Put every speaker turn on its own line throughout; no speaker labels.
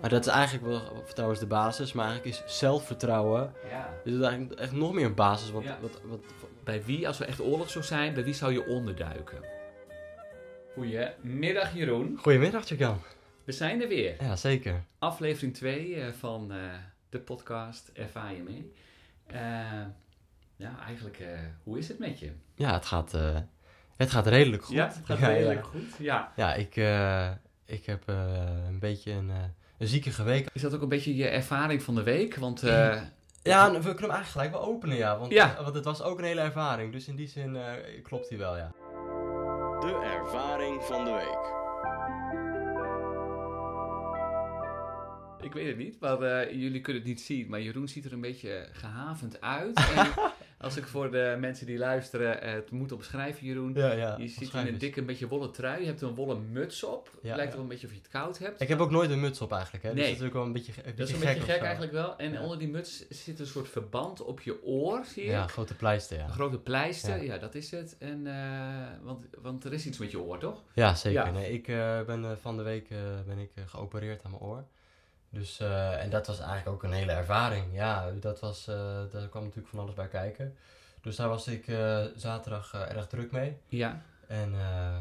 Maar dat is eigenlijk wel, vertrouwen is de basis, maar eigenlijk is zelfvertrouwen
Ja.
is het eigenlijk echt nog meer een basis. Want
Ja.
wat, wat,
Bij wie, als er echt oorlog zou zijn, bij wie zou je onderduiken? Goedemiddag Jeroen.
Goedemiddag, Jacan.
We zijn er weer.
Ja, zeker.
Aflevering 2 van eh, de podcast Ervaar je mee. Eh, ja, eigenlijk, eh, hoe is het met je?
Ja, het gaat, eh, het gaat redelijk goed.
Ja, het gaat
Ja, ja.
redelijk goed. Ja.
Ja, ik, eh, ik heb eh, een beetje een, eh, een ziekige week.
Is dat ook een beetje je ervaring van de week? Want eh,
Ja, en we kunnen hem eigenlijk gelijk wel openen, ja. Want,
Ja.
want het was ook een hele ervaring. Dus in die zin eh, klopt hij wel, ja. De ervaring van de week.
ik weet het niet, maar eh, jullie kunnen het niet zien. Maar Jeroen ziet er een beetje gehavend uit. En als ik voor de mensen die luisteren eh, het moet omschrijven, Jeroen.
Ja, ja.
Je zit in
omschrijf
een
eens.
dikke, een beetje wollen trui. Je hebt een wollen muts op.
Ja,
Lijkt
ja.
wel een beetje of je het koud hebt.
Ik heb ook nooit een muts op eigenlijk, hè. Dus
Nee.
dat is natuurlijk wel een beetje, een
dat is
beetje
een
gek
beetje
of
gek
zo.
eigenlijk wel. En
Ja.
onder die muts zit een soort verband op je oor, zie je.
Ja, grote pleister, ja.
Een grote pleister,
Ja.
ja, dat is het. En, eh, want, want er is iets met je oor, toch?
Ja, zeker.
Ja.
Nee, ik eh, ben eh, van de week eh, ben ik, eh, geopereerd aan mijn oor. Dus, eh, en dat was eigenlijk ook een hele ervaring. Ja, dat was, eh, daar kwam natuurlijk van alles bij kijken. Dus daar was ik eh, zaterdag eh, erg druk mee.
Ja.
En eh,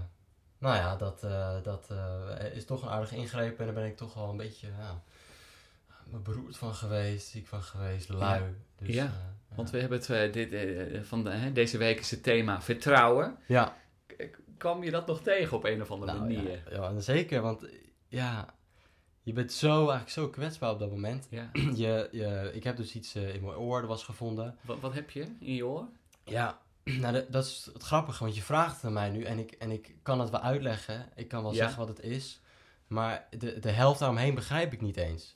nou ja, dat, eh, dat eh, is toch een aardige ingreep. En daar ben ik toch wel een beetje ja, beroerd van geweest, ziek van geweest, lui. Dus,
Ja,
eh,
Want we hebben het, eh, dit, eh, van de, hè, deze week is het thema vertrouwen.
ja.
Kwam je dat nog tegen op een of andere
Nou,
manier?
ja, ja, en zeker, want eh, ja, je bent zo, eigenlijk zo kwetsbaar op dat moment.
Ja.
Je, je, ik heb dus iets eh, in mijn oor was gevonden.
Wat, wat heb je in je oor?
Ja, nou, dat, dat is het grappige, want je vraagt het aan mij nu en ik, en ik kan het wel uitleggen. Ik kan wel
Ja.
zeggen wat het is, maar de, de helft daaromheen begrijp ik niet eens.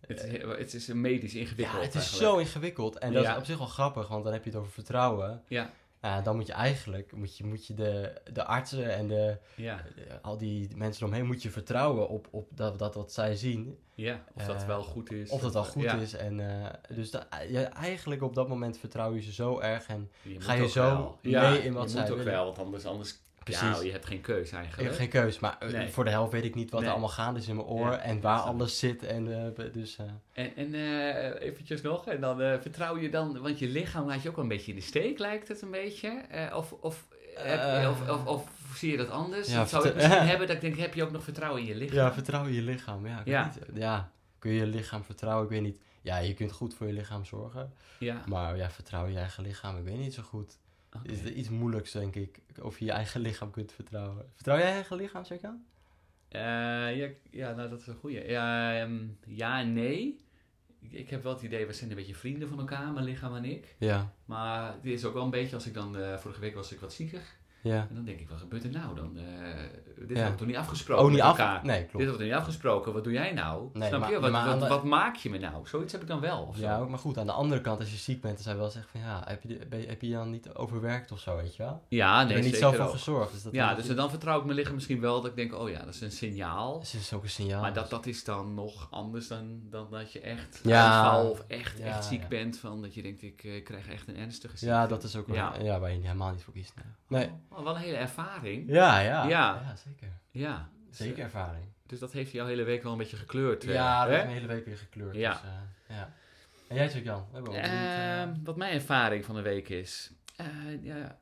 Eh,
Het, is- het is medisch ingewikkeld.
Ja, het is
eigenlijk.
zo ingewikkeld en dat
Ja.
is op zich wel grappig, want dan heb je het over vertrouwen.
Ja.
Ja, dan moet je eigenlijk, moet je, moet je de, de artsen en de,
Ja,
eh, al die mensen eromheen, moet je vertrouwen op, op dat, dat wat zij zien.
ja. Of dat
Eh,
wel goed is.
Of dat al goed
ja.
is. En, eh, dus da- ja, eigenlijk op dat moment vertrouw je ze zo erg. En
Je
Ga
moet
je
ook
zo
wel.
mee
ja,
in wat
je
zij
moet ook
willen.
wel, want anders, anders
Precies.
Ja, oh, je hebt geen keus
ik heb
eigenlijk.
geen keus. Maar eh,
Nee.
voor de helft weet ik niet wat
Nee.
er allemaal gaande is in mijn oor.
Ja,
en waar
snap ik.
alles zit. En, eh, be- dus, eh,
En, en eh, eventjes nog, en dan eh, vertrouw je dan, want je lichaam laat je ook wel een beetje in de steek, lijkt het een beetje. Eh, of, of, heb je- of, of, of zie je dat anders?
Eh. Ja,
Dat zou ik
vertel-
misschien hebben dat ik denk, heb je ook nog vertrouwen in je lichaam?
ja, vertrouw je lichaam. Ja, ik weet
Ja.
niet. eh, ja, kun je je lichaam vertrouwen? Ik weet niet. Ja, je kunt goed voor je lichaam zorgen.
Ja.
Maar ja, vertrouw je eigen lichaam? Ik weet niet zo goed.
Oké.
Is er iets moeilijks, denk ik. Of je je eigen lichaam kunt vertrouwen. Vertrouw jij je eigen lichaam, zeg aan?
Eh, ja, ja, nou dat is een goeie. Ja, ehm, ja en nee. Ik, ik heb wel het idee, we zijn een beetje vrienden van elkaar, mijn lichaam en ik.
Ja.
Maar dit is ook wel een beetje, als ik dan, eh, vorige week was ik wat zieker.
Ja.
En dan denk ik, wat gebeurt er nou dan? eh dit
Ja.
hebben we toch niet afgesproken
Oh, niet
met
af?
elkaar?
Nee,
Dit
klopt.
hebben we toch niet afgesproken, wat doe jij nou?
Nee,
Snap
maar-
je? Wat,
maar aan
wat,
de-
wat maak je me nou? Zoiets heb ik dan wel. Of zo.
Ja, maar goed, aan de andere kant, als je ziek bent, dan zou je wel zeggen van ja, heb je, de- ben je- heb je je dan niet overwerkt of zo, weet je wel?
ja
je
nee,
bent niet
zeker
zelf voor
ook.
gezorgd. Dus dat
Ja,
dat
dus
je-
dan vertrouw ik mijn lichaam misschien wel dat ik denk, oh ja, dat is een signaal.
dat is dus ook een signaal.
Maar dat, dat is dan nog anders dan, dan dat je echt
Ja.
uitval of echt,
Ja,
echt ziek
ja.
bent. Van dat je denkt, ik eh, krijg echt een ernstige ziekte.
ja, dat is ook wel, ja.
Ja.
waar je helemaal niet voor kiest. Nee. nee.
Oh, wel een hele ervaring.
Ja, ja, ja.
Ja.
zeker.
Ja. Dus,
Zeker
eh,
ervaring.
Dus dat heeft jouw hele week wel een beetje gekleurd. eh,
Ja, dat
hè?
is mijn hele week weer gekleurd.
Ja.
Dus, eh, ja. En jij natuurlijk, Jan? Ik ben wel benieuwd, eh,
Ehm, wat mijn ervaring van de week is. eh, ja,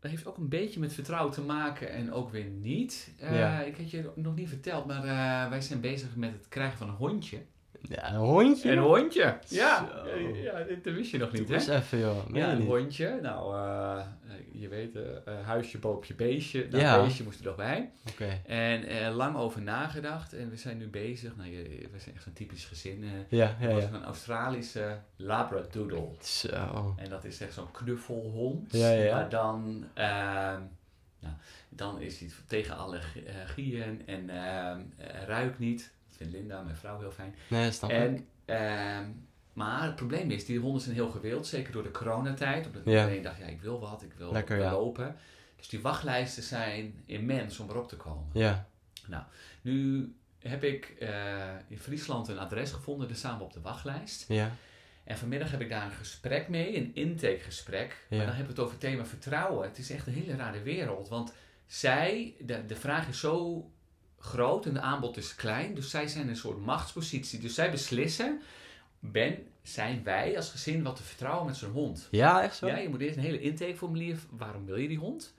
dat heeft ook een beetje met vertrouwen te maken en ook weer niet. Eh,
Ja.
Ik had je nog niet verteld, maar eh, wij zijn bezig met het krijgen van een hondje.
ja, een hondje?
Een hondje! Ja,
Zo.
ja dit- dat wist je nog niet,
Doe
hè?
eens even, joh. Meen
Ja,
je
een
niet.
hondje. Nou, eh, eh, je weet, eh, eh, huisje, boompje, beestje. Nou,
Ja.
beestje moest er nog bij.
Oké.
En eh, lang over nagedacht. En we zijn nu bezig. Nou, je- we zijn echt een typisch gezin. eh.
Ja, ja,
Er was
ja.
een Australische labradoodle.
Zo.
En dat is echt zo'n knuffelhond.
Ja, ja.
Maar dan, ehm, nou, dan is hij tegen allergieën en ehm eh, ruikt niet. Dat vindt Linda, mijn vrouw, heel fijn.
Nee, dat snap ik.
En, ehm, maar het probleem is, die honden zijn heel gewild. Zeker door de coronatijd. Omdat
Ja.
iedereen dacht, ja, ik wil wat, ik wil
Lekker, ja.
lopen. Dus die wachtlijsten zijn immens om erop te komen.
Ja.
Nu heb ik eh, in Friesland een adres gevonden. Daar staan we op de wachtlijst.
Ja.
En vanmiddag heb ik daar een gesprek mee, een intakegesprek.
Ja.
Maar dan hebben we het over het thema vertrouwen. Het is echt een hele rare wereld. Want zij, de, de vraag is zo groot en de aanbod is klein. Dus zij zijn in een soort machtspositie. Dus zij beslissen, ben, zijn wij als gezin wat te vertrouwen met zo'n hond?
Ja, echt zo?
Ja, je moet eerst een hele intakeformulier. Waarom wil je die hond?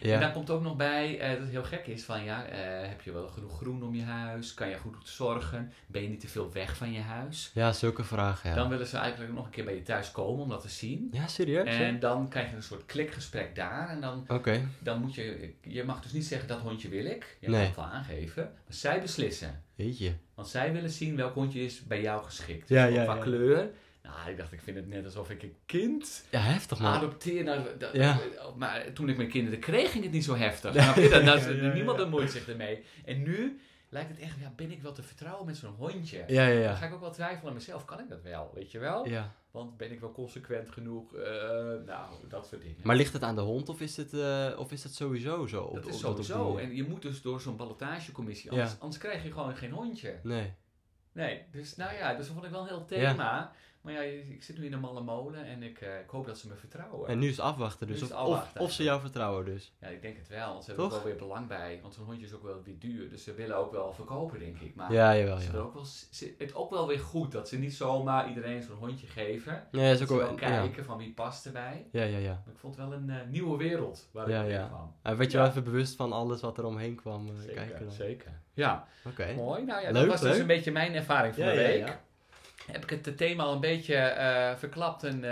En
Ja.
daar komt ook nog bij eh, dat het heel gek is van ja, eh, heb je wel genoeg groen om je huis? Kan je goed zorgen? Ben je niet te veel weg van je huis?
ja, zulke vragen, ja.
Dan willen ze eigenlijk nog een keer bij je thuis komen om dat te zien.
Ja, serieus? ja?
En dan krijg je een soort klikgesprek daar. En dan,
Oké.
dan moet je, je mag dus niet zeggen dat hondje wil ik. Je
Nee.
mag het wel aangeven. Maar zij beslissen.
Weet je.
Want zij willen zien welk hondje is bij jou geschikt.
Ja,
Dus
ja,
qua
ja.
kleur. Nou, ik dacht, ik vind het net alsof ik een kind
Ja, heftig man.
adopteer. Nou, dat-
Ja.
Maar toen ik mijn kinderen kreeg, ging het niet zo heftig. Snap je? Dat, dat,
Ja, ja, ja,
niemand
ja.
bemoeit zich ermee. En nu lijkt het echt, ja, ben ik wel te vertrouwen met zo'n hondje?
Ja, ja,
Dan
ja.
ga ik ook wel twijfelen aan mezelf. Kan ik dat wel? Weet je wel?
ja.
Want ben ik wel consequent genoeg? Eh, nou, dat soort dingen.
Maar ligt het aan de hond of is het, eh, of is het sowieso zo? Op,
dat is
op- op die
sowieso.
manier?
En je moet dus door zo'n ballotagecommissie.
Ja.
Anders, anders krijg je gewoon geen hondje.
Nee.
Nee, dus nou ja, dus dat vond ik wel een heel thema. Maar ja, ik zit nu in een malle molen en ik, eh, ik hoop dat ze me vertrouwen.
En nu is het afwachten.
Nu
Dus
is het
of-
afwachten
of, of ze jou vertrouwen dus.
Ja, ik denk het wel. Want ze hebben
Toch?
ook wel weer belang bij. Want zo'n hondje is ook wel weer duur. Dus ze willen ook wel verkopen, denk ik. Maar
Ja, jawel,
ze
ja.
willen ook wel, ze- het ook wel weer goed dat ze niet zomaar iedereen zo'n hondje geven.
Nee, dat
Ze
is ook
wel
wel... Ja,
kijken van wie past erbij.
ja, ja. ja.
Maar ik vond het wel een eh, nieuwe wereld waar
Ja,
ik in
ja.
kwam.
En werd je
Ja.
wel even bewust van alles wat er omheen kwam? eh, kijken dan.
zeker. Ja,
Oké.
mooi. Nou ja,
Leuk,
dat was dus
leuk.
een beetje mijn ervaring van
Ja,
de
ja,
week.
ja.
Heb ik het thema al een beetje eh, verklapt en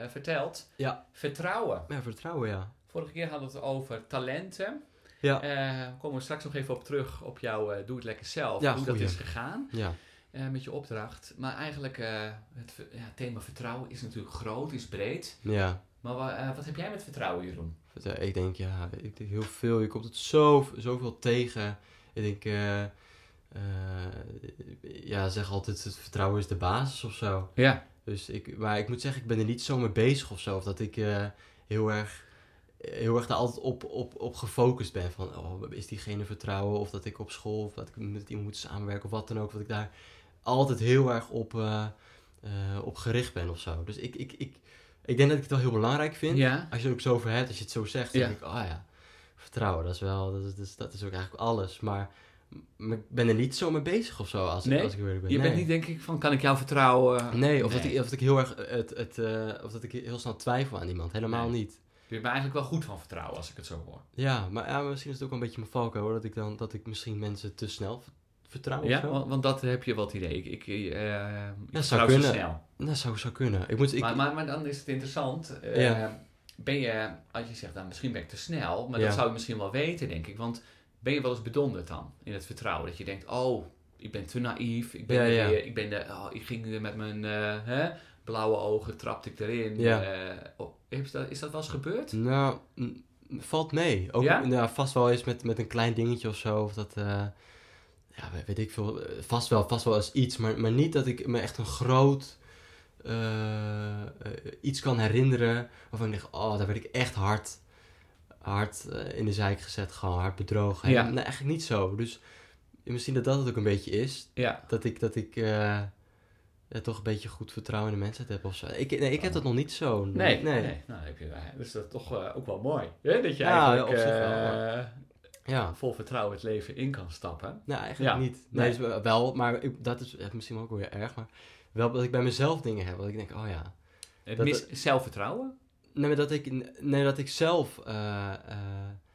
eh, verteld.
Ja.
Vertrouwen.
Ja, vertrouwen, ja.
Vorige keer hadden we het over talenten.
Ja.
Eh, komen we straks nog even op terug op jouw eh, Doe het lekker zelf.
Ja,
hoe
goeie.
dat is gegaan
Ja,
eh, met je opdracht. Maar eigenlijk, eh, het ver- ja, thema vertrouwen is natuurlijk groot, is breed.
ja.
Maar wa- eh, wat heb jij met vertrouwen, Jeroen?
Het, eh, Ik denk, ja, ik denk heel veel. Je komt het zo, zoveel tegen. Ik denk, eh, eh, ja, zeg altijd, het vertrouwen is de basis of zo.
Ja.
Dus ik, maar ik moet zeggen, ik ben er niet zo mee bezig of zo. Of dat ik eh, heel erg heel erg daar altijd op, op, op gefocust ben. Van, oh, is diegene vertrouwen? Of dat ik op school, of dat ik met iemand moet samenwerken, of wat dan ook. Dat ik daar altijd heel erg op, eh, eh, op gericht ben of zo. Dus ik, ik, ik, ik denk dat ik het wel heel belangrijk vind.
Ja.
Als je het ook zo over hebt, als je het zo zegt, dan
Ja.
denk ik, oh ja, vertrouwen, dat is wel, dat is, dat is, dat is ook eigenlijk alles. Maar, maar ik ben er niet zo mee bezig of zo, als,
Nee,
ik, als ik eerlijk ben.
Je bent
Nee.
niet, denk ik, van kan ik jou vertrouwen?
Nee, of, Dat
Nee.
ik, of dat ik heel erg het, het, eh, of dat ik heel snel twijfel aan iemand. Helemaal
Nee.
niet.
Je bent eigenlijk wel goed van vertrouwen, als ik het zo hoor.
Ja, maar ja, misschien is het ook wel een beetje mijn valkuil hoor. Dat ik dan dat ik misschien mensen te snel v- vertrouw. of
Ja,
zo.
want, want dat heb je wel het idee. Ik, ik, eh, ik
zou
vertrouw ze
kunnen.
snel.
Dat zou, zou kunnen. Ik moet, ik,
maar, maar, maar dan is het interessant. eh,
Ja.
Ben je, als je zegt, nou, misschien ben ik te snel, maar
Ja.
dat zou je misschien wel weten, denk ik. Want ben je wel eens bedonderd dan in het vertrouwen? Dat je denkt, oh, ik ben te naïef, ik ben
Ja,
er
ja.
weer- ik, ben er- oh, ik ging er met mijn eh, hè, blauwe ogen, trapte ik erin.
Ja.
eh, oh, is, dat, is dat wel eens gebeurd?
Nou, n- valt mee. Ook
Ja?
nou, vast wel eens met, met een klein dingetje of zo. Of dat, eh, ja, we- weet ik veel. Eh, Vast wel, vast wel eens iets. Maar, maar niet dat ik me echt een groot eh, eh, iets kan herinneren. Waarvan ik denk, oh, daar werd ik echt hard, hard eh, in de zeik gezet. Gewoon hard bedrogen.
Ja.
Nee, eigenlijk niet zo. Dus misschien dat dat het ook een beetje is.
Ja.
Dat ik, dat ik eh, ja, toch een beetje goed vertrouwen in de mensheid heb of zo. Ik, nee, ik heb dat nog niet zo.
Oh. Nee, nee. Nou, heb je, eh, dus dat is toch eh, ook wel mooi. Hè? Dat je
Ja,
eigenlijk
op zich wel,
eh,
Ja.
vol vertrouwen het leven in kan stappen.
Nou, eigenlijk
Ja.
niet. Nee,
Nee.
dus, eh, wel, maar ik- dat is eh, misschien ook weer erg. Maar wel dat ik bij mezelf dingen heb. Dat ik denk, oh ja.
Het
Dat-
mis zelfvertrouwen,
Nee, maar dat ik, nee, dat ik zelf. eh, eh,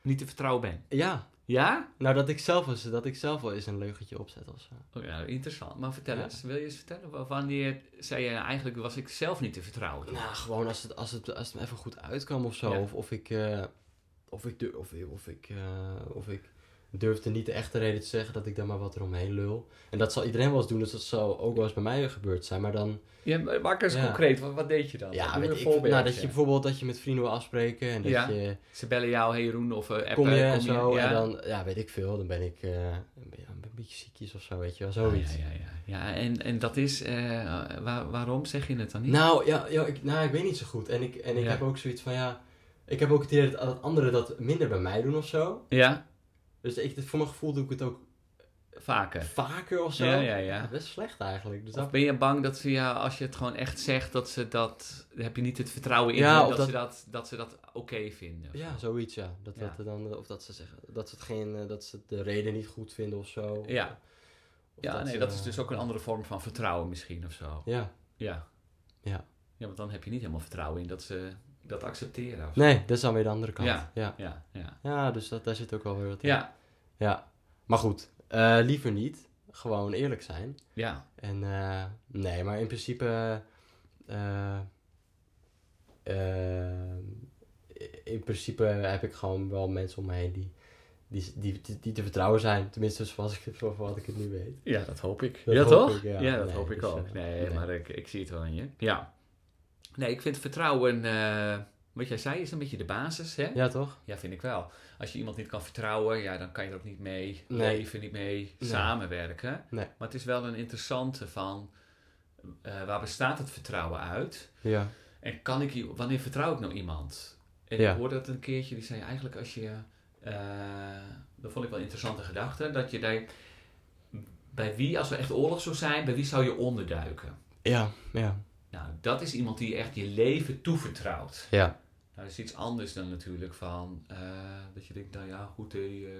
niet te vertrouwen ben.
ja.
Ja?
Nou, dat ik zelf, eens- dat ik zelf wel eens een leugentje opzet of zo.
Oh ja, interessant. Maar vertel
Ja.
eens, wil je eens vertellen? Wa- Wanneer zei je nou, eigenlijk was ik zelf niet te vertrouwen?
Nou, gewoon als het, als het, als het me even goed uitkwam of zo.
Ja.
Of, of ik. eh, of ik, durf, of, ik- of, ik, eh, of ik durfde niet de echte reden te zeggen dat ik daar maar wat eromheen lul. En dat zal iedereen wel eens doen, dus dat zal ook wel eens bij mij weer gebeurd zijn. Maar dan
Ja, maar maak eens
Ja.
concreet, wat, wat deed je dan?
Ja,
Doe
weet
een
ik,
voorbeeld,
nou, dat je
ja.
bijvoorbeeld dat je met vrienden wil afspreken en dat
Ja.
je
Ze bellen jou, hey Jeroen, of eh, appen.
kom je en
kom
zo
ja.
en dan, ja, weet ik veel, dan ben ik eh, een, be- ja, een beetje ziekjes of zo, weet je wel,
Ah,
zoiets.
ja, ja, ja. ja en, en dat is, eh, waar- waarom zeg je het dan niet?
Nou, ja, ja ik, nou, ik weet niet zo goed en ik, en ik
Ja.
heb ook zoiets van, ja, ik heb ook het idee dat, dat anderen dat minder bij mij doen of zo.
ja,
Dus ik, voor mijn gevoel doe ik het ook
Vaker.
vaker of zo.
Ja, ja, ja.
Best slecht eigenlijk. Dus
Of
dat...
ben je bang dat ze, ja, als je het gewoon echt zegt, dat ze dat, heb je niet het vertrouwen in
Ja,
hen
of
dat,
dat-
ze dat, dat ze dat oké vinden? of
Ja,
zo?
zoiets ja. Dat,
Ja.
Dat, er dan, eh, of dat ze zeggen dat ze, het geen, eh, dat ze de reden niet goed vinden of zo. Of- eh,
Ja.
of eh,
ja nee,
ze-
dat is dus ook een andere vorm van vertrouwen misschien of zo.
Ja,
Ja.
Ja.
Ja, want dan heb je niet helemaal vertrouwen in dat ze dat accepteren. of-
nee, dat is dan weer de andere kant.
Ja.
Ja, ja.
Ja, ja.
dus dat, daar zit ook wel weer wat in.
Ja,
Ja. Maar goed, eh, liever niet. Gewoon eerlijk zijn.
ja.
En eh, nee, maar in principe. eh, eh, in principe heb ik gewoon wel mensen om me heen die, die, die, die, die te vertrouwen zijn. Tenminste, zoals ik, zoals wat ik het nu weet.
Ja, dat hoop ik.
Dat
ja,
hoop
toch?
ik,
ja.
ja.
dat
Nee,
hoop ik
dus,
ook.
eh,
Nee,
nee.
maar ik, ik zie het wel in je. Ja. Nee, ik vind vertrouwen, eh, wat jij zei, is een beetje de basis, hè?
Ja, toch?
Ja, vind ik wel. Als je iemand niet kan vertrouwen, ja, dan kan je er ook niet mee
Nee.
leven, niet mee
Nee.
samenwerken.
Nee.
Maar het is wel een interessante van, eh, waar bestaat het vertrouwen uit?
Ja.
En kan ik, i- wanneer vertrouw ik nou iemand? En
Ja.
ik hoorde dat een keertje, die zei eigenlijk als je, eh, dat vond ik wel een interessante gedachte, dat je daar, bij wie, als er echt oorlog zou zijn, bij wie zou je onderduiken?
Ja, ja.
Nou, dat is iemand die echt je leven toevertrouwt.
Ja,
Nou, dat is iets anders dan natuurlijk van eh, dat je denkt, nou ja, goed, hé, eh,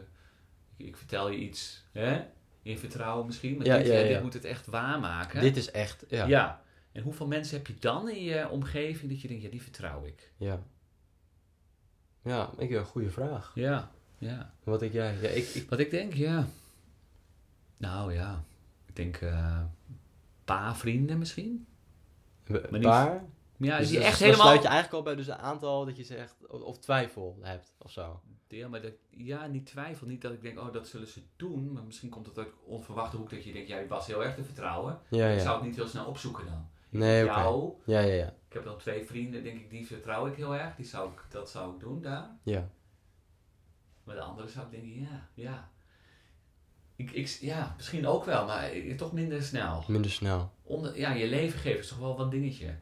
ik, ik vertel je iets hè? in vertrouwen misschien, maar
Ja,
dit,
ja,
eh,
ja.
dit moet het echt waarmaken.
dit is echt.
ja.
Ja.
En hoeveel mensen heb je dan in je omgeving dat je denkt, ja, die vertrouw ik?
Ja, ja ik heb een goede vraag.
Ja, ja.
Wat denk jij? Ja, ik, ik,
Wat ik denk, ja. Nou ja, ik denk eh, een paar vrienden misschien.
een
niet-
paar.
Ja,
dus
die
dan-
echt
dan
helemaal...
sluit je eigenlijk al bij dus een aantal dat je zegt, of, of twijfel hebt of zo.
Ja, maar dat, ja, niet twijfel. Niet dat ik denk, oh, dat zullen ze doen. Maar misschien komt het uit onverwachte hoek dat je denkt, jij was heel erg te vertrouwen.
Ja,
Ik zou
ja.
het niet heel snel opzoeken dan.
Nee, oké.
Jou,
Ja, ja, ja.
ik heb dan twee vrienden, denk ik, die vertrouw ik heel erg. Die zou ik, dat zou ik doen daar.
Ja,
Maar de andere zou ik denken, ja, ja. Ik, ik, ja, misschien ook wel, maar eh, toch minder snel.
minder snel.
Onder, ja, je leven geven is toch wel wat dingetje.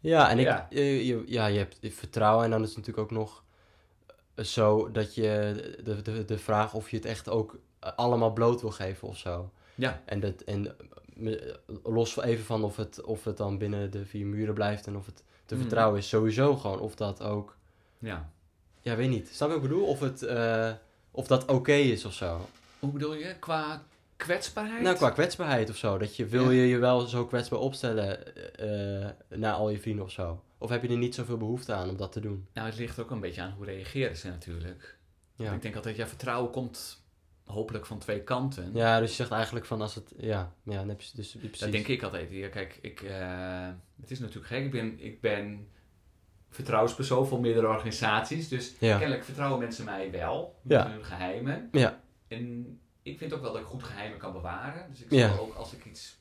Ja, en ik,
Ja.
eh, je, ja, je hebt vertrouwen en dan is het natuurlijk ook nog eh, zo dat je de, de, de vraag of je het echt ook eh, allemaal bloot wil geven of zo.
Ja.
En, dat, en eh, los even van of het, of het dan binnen de vier muren blijft en of het te
Mhm.
vertrouwen is, sowieso gewoon of dat ook,
Ja.
ja weet niet, snap je wat ik bedoel? Of, het, eh, of dat oké is of zo.
Hoe bedoel je? Qua kwetsbaarheid?
Nou, qua kwetsbaarheid of zo. Dat je, wil
Ja.
je je wel zo kwetsbaar opstellen eh, eh, naar al je vrienden of zo? Of heb je er niet zoveel behoefte aan om dat te doen?
Nou, het ligt ook een beetje aan hoe reageren ze natuurlijk.
Ja.
Ik denk altijd, ja, vertrouwen komt hopelijk van twee kanten.
Ja, dus je zegt eigenlijk van als het. Ja, ja dan heb je dus precies.
Dat denk ik altijd. Ja, kijk, ik, eh, het is natuurlijk gek. Ik ben, ik ben vertrouwenspersoon voor meerdere organisaties. Dus
Ja,
kennelijk vertrouwen mensen mij wel. Met
Ja.
hun geheimen.
Ja.
En ik vind ook wel dat ik goed geheimen kan bewaren. Dus ik zal
Ja.
ook als ik iets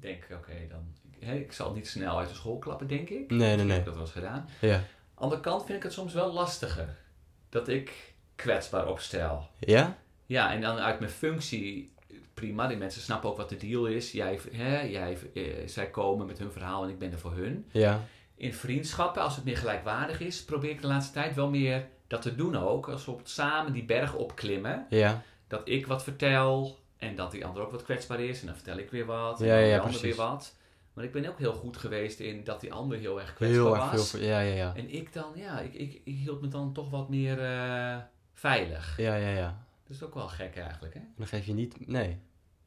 denk, oké, dan... Hè, ik zal niet snel uit de school klappen, denk ik.
Nee, nee,
Ik
nee.
heb dat wel eens gedaan.
ja.
Andere kant vind ik het soms wel lastiger. Dat ik kwetsbaar opstel.
Ja?
Ja, en dan uit mijn functie, prima, die mensen snappen ook wat de deal is. Jij, hè, jij, eh, zij komen met hun verhaal en ik ben er voor hun.
Ja.
In vriendschappen, als het meer gelijkwaardig is, probeer ik de laatste tijd wel meer dat te doen ook. Als we op- samen die berg opklimmen,
Ja.
dat ik wat vertel en dat die ander ook wat kwetsbaar is. En dan vertel ik weer wat en
Ja,
dan
ja,
die
ja,
ander
precies.
weer wat. Maar ik ben ook heel goed geweest in dat die ander heel erg kwetsbaar
Heel
was.
erg veel. voor- Ja, ja, ja.
En ik dan, ja, ik, ik, ik hield me dan toch wat meer eh, veilig.
Ja, ja, ja.
Dat is ook wel gek eigenlijk, hè?
En dan geef je niet. Nee.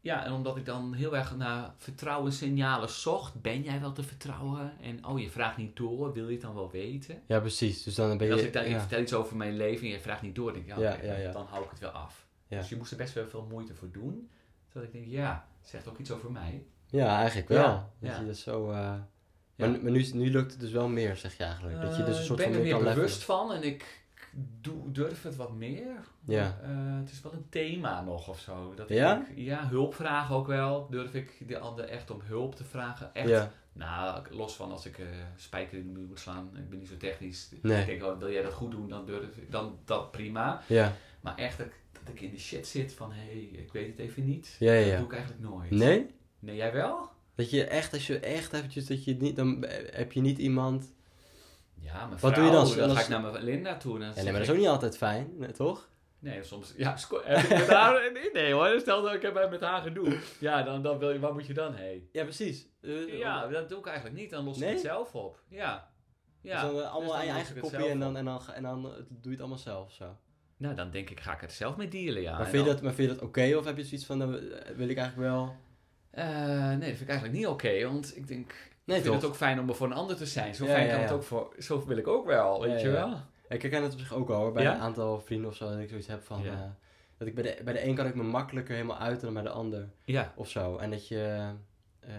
Ja, en omdat ik dan heel erg naar vertrouwensignalen zocht, ben jij wel te vertrouwen? En oh, je vraagt niet door, wil je het dan wel weten?
Ja, precies. Dus dan ben
En
je.
als ik dan ik
ja.
vertel iets over mijn leven en je vraagt niet door, denk ik, ja,
Ja,
oké,
ja, ja.
dan hou ik het wel af.
Ja.
Dus je moest er best wel veel moeite voor doen. Terwijl ik denk, ja, het zegt ook iets over mij.
ja, eigenlijk wel.
Ja,
dat
ja.
je dat zo. eh,
Ja.
Maar, maar nu, is- nu lukt het dus wel meer, zeg je eigenlijk. dat je dus een
Eh,
soort
ik
van
ben
meer
er
kan levelen.
meer bewust van en ik doe, durf het wat meer.
Ja.
Maar, eh, het is wel een thema nog of zo. Dat ik
Ja?
denk, ja, hulpvragen ook wel. Durf ik de ander echt om hulp te vragen? Echt
Ja.
Nou, los van als ik eh spijker in de muur moet slaan, ik ben niet zo technisch.
Nee.
Ik denk, oh, wil jij dat goed doen, dan durf ik, dan dat prima.
Ja.
Maar echt dat, ik- dat ik in de shit zit van, hé, hey, ik weet het even niet.
Ja, ja,
Dat
ja.
doe ik eigenlijk nooit.
Nee?
Nee, jij wel?
Dat je echt, als je echt eventjes, dat je het niet, dan heb je niet iemand.
Ja, maar
Wat doe je dan?
Dan
Als-
ga ik naar mijn Linda toe. en Dan
Ja, nee, maar
zeg
dat is ook
ik,
niet altijd fijn, nee, toch?
Nee, soms... Ja, sco- heb ik met haar... Nee, Nee hoor, stel dat ik heb met haar gedoe. Ja, dan, dan wil je... Waar moet je dan heen?
Ja, precies. Eh,
Ja, dat doe ik eigenlijk niet. Dan los ik
Nee?
het zelf op. Ja.
Dus
Ja.
dan, eh, allemaal
dan
aan je
los
eigen
ik het
kopie en
zelf
dan, en, dan, en dan eh, doe je het allemaal zelf. Zo.
Nou, dan denk ik, ga ik er zelf mee dealen, ja.
maar,
En
vind je
dan-
dat, maar vind je dat oké of heb je zoiets van, nou, eh, wil ik eigenlijk wel...
Eh, nee, dat vind ik eigenlijk niet oké, want ik denk...
Nee,
ik vind
toch?
het ook fijn om er voor een ander te zijn. Zo
Ja,
fijn
ja,
kan het
ja.
ook voor... Zo wil ik ook wel, weet
Ja,
je
ja.
wel?
Ja, Ik herken het op zich ook al hoor, bij
Ja?
een aantal vrienden of zo, dat ik zoiets heb van...
Ja.
eh, dat ik bij, de, bij de een kan ik me makkelijker helemaal uiten dan bij de ander.
Ja.
Of zo. En dat je. eh,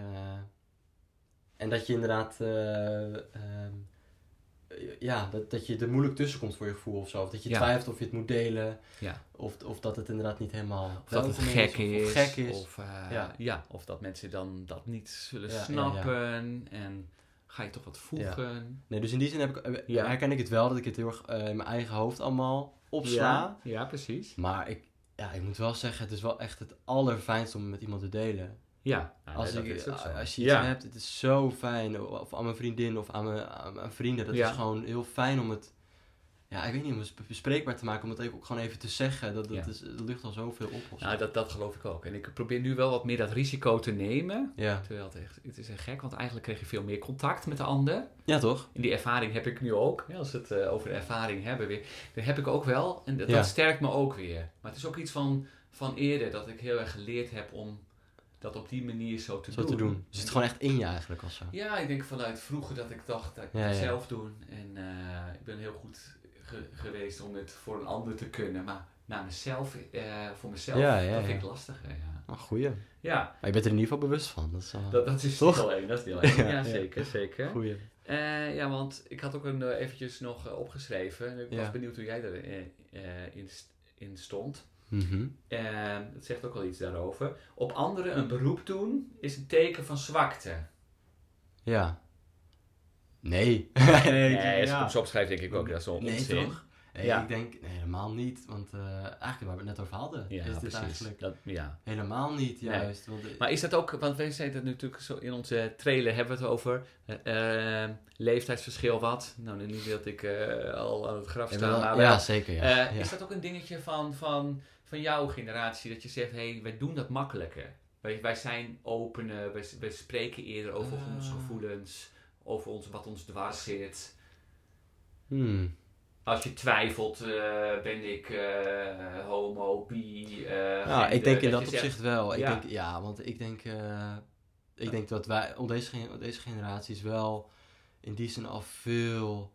en dat je inderdaad. eh, ehm, ja, dat, dat je er moeilijk tussen komt voor je gevoel of zo. Of dat je
Ja.
twijfelt of je het moet delen.
Ja.
Of, of dat het inderdaad niet helemaal.
Of dat het
welkom
gek is.
Of, of gek is.
Of, eh, ja.
Ja.
of dat mensen dan dat niet zullen
Ja, ja, ja.
snappen. En ga je toch wat voegen.
Nee, dus in die zin heb ik, eh,
Ja.
herken ik het wel dat ik het heel erg eh, in mijn eigen hoofd allemaal opsla.
Ja, ja, precies.
Maar ik, ja, ik moet wel zeggen, het is wel echt het allerfijnste om het met iemand te delen.
Ja.
Als, ik, als je iets
Ja.
aan hebt, het is zo fijn. Of aan mijn vriendin of aan mijn, aan mijn vrienden. Dat
Ja.
is gewoon heel fijn om het... Ja, ik weet niet, om het bespreekbaar te maken. Om het even- ook gewoon even te zeggen. Dat, dat,
Ja.
is, dat lucht al zoveel op. of zo.
Nou, dat, dat geloof ik ook. En ik probeer nu wel wat meer dat risico te nemen.
ja.
Terwijl het echt, het is echt gek, want eigenlijk kreeg je veel meer contact met de ander.
ja, toch?
En die ervaring heb ik nu ook. Ja, als we het eh, over de ervaring hebben weer. Dat heb ik ook wel. En dat,
Ja.
dat sterkt me ook weer. Maar het is ook iets van, van eerder dat ik heel erg geleerd heb om dat op die manier zo te
Zo
doen.
te doen. Dus het gewoon echt in je eigenlijk of zo.
Ja, ik denk vanuit vroeger dat ik dacht dat ik
Ja,
het
ja.
zelf doen. En eh, ik ben heel goed ge- geweest om het voor een ander te kunnen. Maar naar mezelf, eh, voor mezelf,
Ja, ja,
dat
ja.
vind ik lastiger. Ja,
Oh, goeie.
ja
Maar je bent er in ieder geval bewust van. Dat is wel
Ah, dat, dat is
Toch?
deel één. Dat is deel één. Ah. Ja,
Ja, ja.
zeker, zeker.
goeie.
Eh, ja, want ik had ook een, eh, eventjes nog eh, opgeschreven. En ik
Ja.
was benieuwd hoe jij erin eh eh, in, st- in stond.
Mhm.
Eh, het zegt ook wel iets daarover. Op anderen een beroep doen is een teken van zwakte.
Ja. Nee.
Nee, als ik
ja.
hem zo opschrijf, denk ik ook dat is zo'n
Nee,
onzin.
toch? Nee,
Ja.
ik denk nee, helemaal niet. Want eh, eigenlijk waar we het net over hadden.
Ja,
is dit
precies.
eigenlijk
Dat, ja.
helemaal niet
Nee.
juist. Want,
Maar is dat ook, want wij zeiden het natuurlijk zo in onze trailer hebben we het over. eh, eh, leeftijdsverschil wat? Nou, niet dat ik eh, al aan het graf
Ja,
sta,
wel-
maar
ja,
wel.
zeker. Ja.
Eh,
Ja.
Is dat ook een dingetje van, van, van jouw generatie? Dat je zegt, hé, hey, wij doen dat makkelijker. Wij, wij zijn opener, wij, wij spreken eerder over
Ah.
onze gevoelens, over ons, wat ons dwars zit.
Hmm.
Als je twijfelt, eh, ben ik eh, homo, bi, eh
Nou,
gender,
ik denk in
je
dat
zegt-
opzicht wel.
Ja.
Ik denk, ja, want ik denk, eh, ik denk dat wij, op deze, gen- op deze generatie is wel in die zin al veel,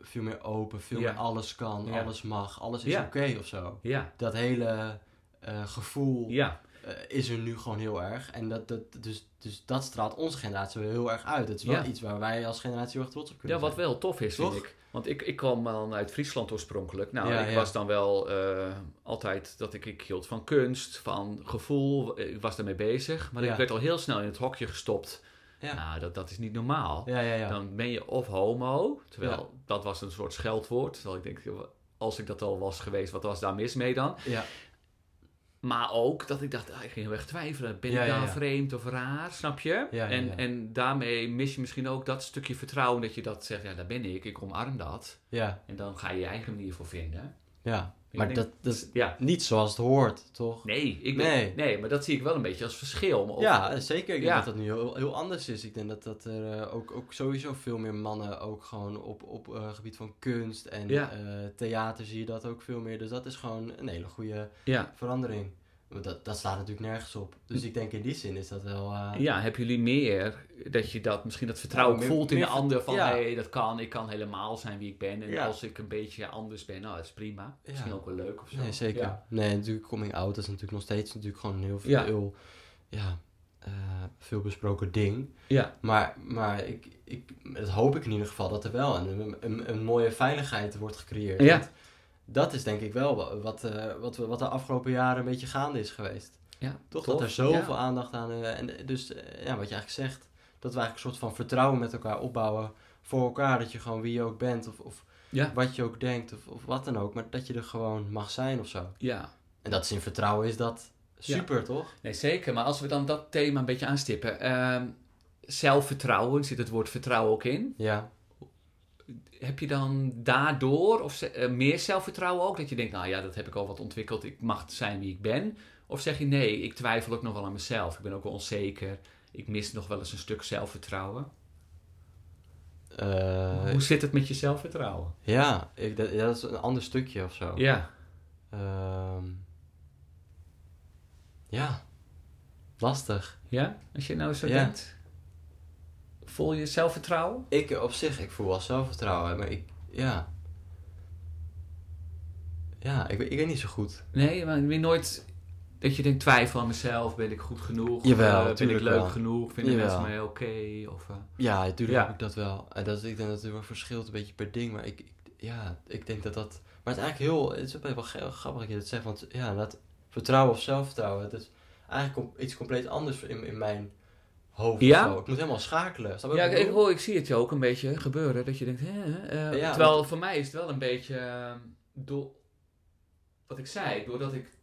veel meer open, veel
Ja.
meer alles kan,
Ja.
alles mag, alles is
Ja.
oké of zo.
Ja,
Dat hele eh, gevoel
ja,
eh, is er nu gewoon heel erg. En dat, dat, dus, dus dat straalt onze generatie wel heel erg uit. Het is wel
Ja.
iets waar wij als generatie heel erg trots op kunnen
ja, wat
zijn.
wel tof is,
Toch?
vind ik. Want ik, ik kwam dan uit Friesland oorspronkelijk. Nou,
Ja,
ik
ja.
was dan wel eh, altijd dat ik, ik hield van kunst, van gevoel. Ik was daarmee bezig. Maar
Ja.
ik werd al heel snel in het hokje gestopt.
Ja.
Nou, dat, dat is niet normaal.
Ja, ja, ja.
Dan ben je of homo, terwijl dat was een soort scheldwoord. Terwijl ik denk, als ik dat al was geweest, wat was daar mis mee dan?
Ja.
Maar ook dat ik dacht, ah, ik ging heel erg twijfelen. Ben
Ja,
ik
ja,
daar
ja.
vreemd of raar, snap je?
ja,
en,
ja.
en daarmee mis je misschien ook dat stukje vertrouwen dat je dat zegt, ja, daar ben ik, ik omarm dat.
Ja,
En dan ga je je eigen manier voor vinden.
ja.
Ik
Maar
denk-
dat, dat is
Ja,
niet zoals het hoort, toch?
nee, ik ben, nee.
Dus- Nee.
maar dat zie ik wel een beetje als verschil. Maar of-
Ja, zeker. Ik denk
Ja.
dat dat nu heel, heel anders is. Ik denk dat, dat er eh, ook, ook sowieso veel meer mannen ook gewoon op, op eh, gebied van kunst en
Ja.
eh, theater zie je dat ook veel meer. Dus dat is gewoon een hele goede
ja.
verandering. Want Dat, dat slaat natuurlijk nergens op. Dus ik denk in die zin is dat wel... eh,
Ja, hebben jullie meer dat je dat misschien dat vertrouwen
Ja, meer-
voelt in de
meer-
ander van
ja.
hé, dat kan, ik kan helemaal zijn wie ik ben. En
Ja.
als ik een beetje anders ben, nou, dat is prima.
Ja.
Misschien ook wel leuk of zo.
Nee, zeker.
Ja.
Nee, natuurlijk coming out dat is natuurlijk nog steeds natuurlijk gewoon een heel veel,
Ja.
heel, ja, eh, veel besproken ding.
Ja.
Maar, maar ik, ik, dat hoop ik in ieder geval dat er wel een, een, een mooie veiligheid wordt gecreëerd.
Ja.
Want Dat is denk ik wel wa- wat, eh, wat, we- wat de afgelopen jaren een beetje gaande is geweest.
Ja,
Toch?
tof.
Dat er zoveel aandacht aan... eh, en eh, dus eh, ja, wat je eigenlijk zegt, dat we eigenlijk een soort van vertrouwen met elkaar opbouwen voor elkaar. Dat je gewoon wie je ook bent of, of
Ja.
wat je ook denkt of, of wat dan ook. Maar dat je er gewoon mag zijn of zo.
Ja.
En dat is in vertrouwen is dat super, toch?
Nee, zeker. Maar als we dan dat thema een beetje aanstippen. ehm, zelfvertrouwen, zit het woord vertrouwen ook in?
Ja.
heb je dan daardoor of ze- eh, meer zelfvertrouwen ook? Dat je denkt, nou ja, dat heb ik al wat ontwikkeld. Ik mag zijn wie ik ben. Of zeg je, nee, ik twijfel ook nog wel aan mezelf. Ik ben ook wel onzeker. Ik mis nog wel eens een stuk zelfvertrouwen.
Eh,
Hoe zit het met je zelfvertrouwen?
ja, ik, dat, ja, dat is een ander stukje of zo.
Ja.
Ehm, ja. Lastig.
Ja? Als je nou zo
Ja.
denkt. Voel je zelfvertrouwen?
Ik eh, op zich, ik voel wel zelfvertrouwen, maar ik, ja. Ja, ik, weet- ik weet niet zo goed.
Nee, maar ik weet nooit dat je denkt, twijfel aan mezelf. Ben ik goed genoeg?
Jawel,
Eh, ben ik
tuurlijk
leuk
wel.
genoeg? Vinden
Jawel.
mensen mij oké? Of... eh,
Ja, natuurlijk
Ja.
heb ik dat wel. En dat, is- ik denk dat het wel verschilt een beetje per ding, maar ik, ik- ja, ik denk dat dat... Maar het is eigenlijk heel, het is ook wel ge- grappig dat je dat zegt, want ja, dat vertrouwen of zelfvertrouwen, het is eigenlijk com- iets compleet anders in, in mijn hoofd. of
Ja?
zo. Ik moet helemaal schakelen. Snap je
Ja,
wat
ik,
ik
ik,
bedoel?
hoor, ik zie het je ook een beetje gebeuren. Dat je denkt, hè? eh,
Ja,
terwijl voor mij is het wel een beetje... eh, door, wat ik zei, doordat ik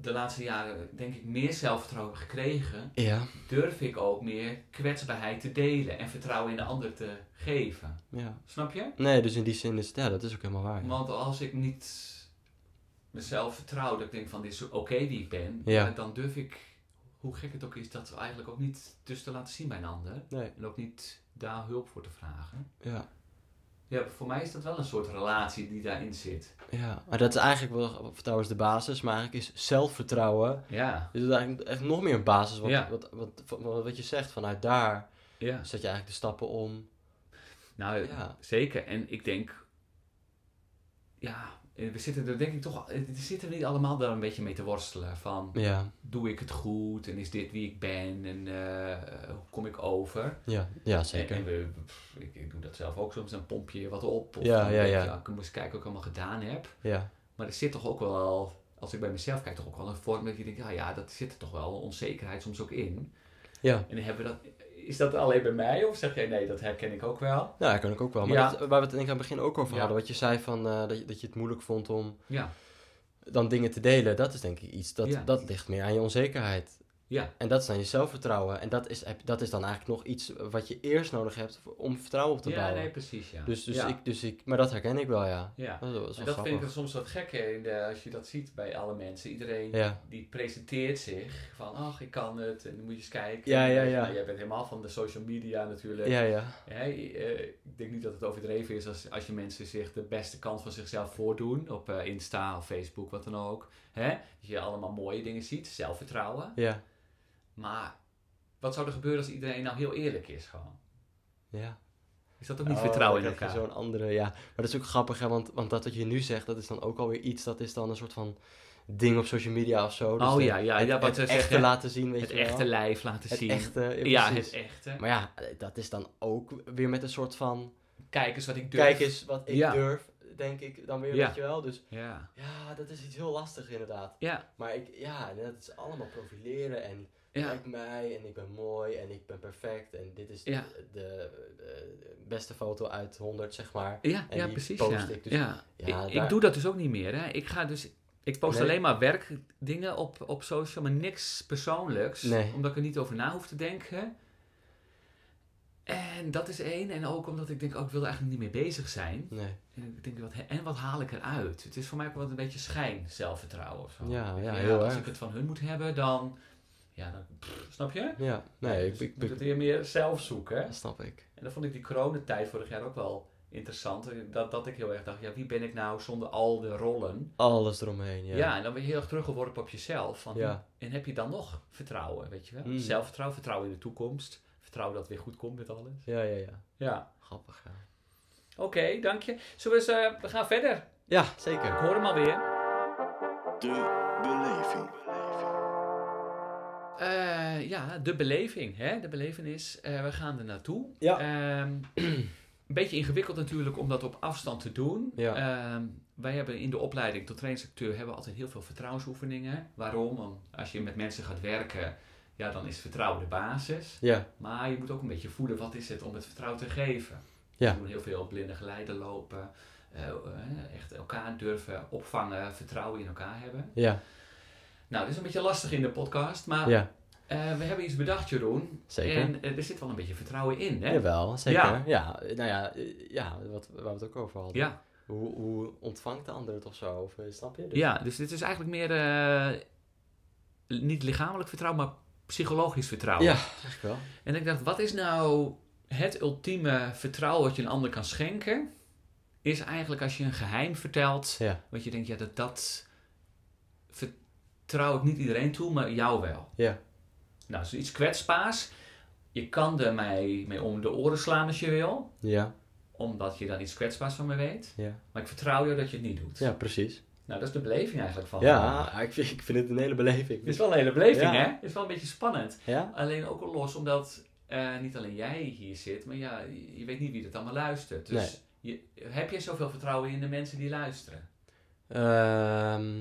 de laatste jaren denk ik meer zelfvertrouwen heb gekregen...
Ja,
durf ik ook meer kwetsbaarheid te delen en vertrouwen in de ander te geven.
ja.
Snap je?
Nee, dus in die zin is het, ja, dat is ook helemaal waar. Ah, ja.
Want als ik niet mezelf vertrouw, dat ik denk van dit is oké wie ik ben...
Ja.
eh, dan durf ik, hoe gek het ook is, dat eigenlijk ook niet dus te laten zien bij een ander.
Nee,
En ook niet daar hulp voor te vragen.
ja.
Ja, voor mij is dat wel een soort relatie die daarin zit.
Ja, maar dat is eigenlijk wel, vertrouwen is de basis, maar eigenlijk is zelfvertrouwen,
Ja,
is het eigenlijk echt nog meer een basis, wat,
Ja.
wat, wat, wat, wat je zegt, vanuit daar
ja.
zet je eigenlijk de stappen om,
Nou,
ja.
zeker. En ik denk, ja, eh, we zitten er denk ik toch, eh, zitten we niet allemaal daar een beetje mee te worstelen. Van,
Ja,
doe ik het goed en is dit wie ik ben en eh, hoe kom ik over?
Ja, ja
En
zeker.
we, pff, ik, ik doe dat zelf ook soms, dan pomp je wat op. Of
Ja,
dan
ja,
denk je,
ja.
Ik moet eens kijken wat ik allemaal gedaan heb.
Ja,
Maar er zit toch ook wel, als ik bij mezelf kijk, toch ook wel een vorm dat je denkt, ja, ja, dat zit er toch wel onzekerheid soms ook in.
ja.
En hebben we dat, is dat alleen bij mij of zeg jij nee, dat herken ik ook wel?
Nou, dat kan ik ook wel. Maar
Ja.
dat- waar we het denk ik aan het begin ook over
Ja.
hadden, wat je zei van eh, dat, je, dat je het moeilijk vond om
Ja,
dan dingen te delen, dat is denk ik iets. Dat,
Ja.
dat ligt meer aan je onzekerheid.
ja,
En dat is aan je zelfvertrouwen. En dat is, heb- dat is dan eigenlijk nog iets wat je eerst nodig hebt voor- om vertrouwen op te
ja
bouwen.
nee, precies. Ja.
Dus, dus,
ja.
ik, dus ik, maar dat herken ik wel, ja.
ja.
Dat is wel, dat is wel
En dat
grappig.
vind ik er soms wat gek hè, in de- als je dat ziet bij alle mensen. Iedereen
Ja,
die presenteert zich van, ach, ik kan het en dan moet je eens kijken.
Ja, ja,
En, eh,
ja.
nou, jij bent helemaal van de social media natuurlijk.
ja, ja.
Hè, eh, ik denk niet dat het overdreven is als, als je mensen zich de beste kant van zichzelf voordoen op eh, Insta of Facebook, wat dan ook. Hè? Dat je allemaal mooie dingen ziet, zelfvertrouwen.
Ja,
Maar wat zou er gebeuren als iedereen nou heel eerlijk is gewoon?
ja.
Is dat ook niet
Oh,
vertrouwen in
dan krijg
elkaar?
je Zo'n andere, ja. Maar dat is ook grappig, hè, want, want dat wat je nu zegt, dat is dan ook alweer iets, dat is dan een soort van ding op social media of zo. Dus
Oh
dan-
ja, ja,
het,
ja
het
wat ze
echte
zeggen.
laten zien, weet
het
je wel.
echte lijf laten
Het
zien.
echte, ja,
ja,
precies.
het echte.
Maar ja, dat is dan ook weer met een soort van...
Kijk eens wat ik durf.
Kijk eens wat ik
Ja.
durf, denk ik dan weer,
Ja.
weet je wel. Dus
Ja.
ja, dat is iets heel lastigs inderdaad.
Ja.
Maar ik, ja, dat is allemaal profileren en
Ja.
kijk mij en ik ben mooi en ik ben perfect. En dit is
Ja.
de, de, de beste foto uit 100, zeg maar.
Ja,
En
ja,
die
precies.
post
Ja.
ik dus-
ja.
Ja,
ik, ik
daar-
doe dat dus ook niet meer. Hè. Ik ga dus... Ik post
Nee.
alleen maar werkdingen op, op social, maar niks persoonlijks.
Nee.
Omdat ik er niet over na hoef te denken. En dat is één. En ook omdat ik denk, oh, ik wil er eigenlijk niet mee bezig zijn.
Nee,
En ik denk, wat, en wat haal ik eruit? Het is voor mij ook wel een beetje schijn zelfvertrouwen of zo.
ja, ja,
Oh. Ja,
heel
als
erg.
ik het van hun moet hebben, dan... Ja, dan pff, snap je?
Ja, nee, ik,
Dus
ik,
moet
ik-
het weer meer zelf zoeken.
dat snap ik.
En dan vond ik die coronatijd vorig jaar ook wel interessant. Dat, dat ik heel erg dacht, ja, wie ben ik nou zonder al de rollen?
Alles eromheen, ja.
Ja, en dan ben je heel erg teruggeworpen op jezelf. Van,
Ja.
En heb je dan nog vertrouwen, weet je wel?
Mm.
Zelfvertrouwen, vertrouwen in de toekomst. Vertrouwen dat het weer goed komt met alles.
Ja, ja, ja.
Ja,
Grappig, ja.
oké, dank je. Zullen we eens, eh, we gaan verder.
Ja,
Ik
zeker.
hoor hem alweer.
De beleving.
Eh, ja, de beleving, hè? de belevenis. Eh, we gaan er naartoe.
Ja.
Ehm, een beetje ingewikkeld natuurlijk om dat op afstand te doen.
Ja.
Ehm, wij hebben in de opleiding tot trainingsacteur hebben we altijd heel veel vertrouwensoefeningen. Waarom? Want als je met mensen gaat werken, ja, dan is vertrouwen de basis.
Ja,
Maar je moet ook een beetje voelen wat is het om het vertrouwen te geven.
Ja.
We doen heel veel blinde geleiden lopen. eh, eh, echt elkaar durven opvangen, vertrouwen in elkaar hebben.
ja,
Nou, dat is een beetje lastig in de podcast, maar
ja.
Eh, we hebben iets bedacht, Jeroen.
Zeker.
En eh, er zit wel een beetje vertrouwen in, hè?
Jawel, zeker.
Ja.
Ja. nou ja, eh, ja wat, waar we het ook over hadden.
Ja,
Hoe, hoe ontvangt de ander het of zo? Of, eh, snap je? Dus-
ja, dus dit is eigenlijk meer eh, niet lichamelijk vertrouwen, maar psychologisch vertrouwen.
ja, eigenlijk wel.
En ik dacht, wat is nou het ultieme vertrouwen wat je een ander kan schenken? Is eigenlijk als je een geheim vertelt,
Ja,
wat je denkt, ja, dat, dat vertrouw ik niet iedereen toe, maar jou wel.
ja.
Nou, zoiets kwetsbaars. Je kan er mij mee om de oren slaan als je wil,
Ja,
omdat je dan iets kwetsbaars van me weet.
ja.
Maar ik vertrouw jou dat je het niet doet.
ja precies.
Nou, dat is de beleving eigenlijk van.
Ja, ik vind, ik vind het een hele beleving.
Het is wel een hele
Ja.
beleving, hè? Het is wel een beetje spannend.
Ja?
Alleen ook al los, omdat eh, niet alleen jij hier zit, maar ja, je weet niet wie het allemaal luistert. Dus je, heb jij zoveel vertrouwen in de mensen die luisteren?
Ehm,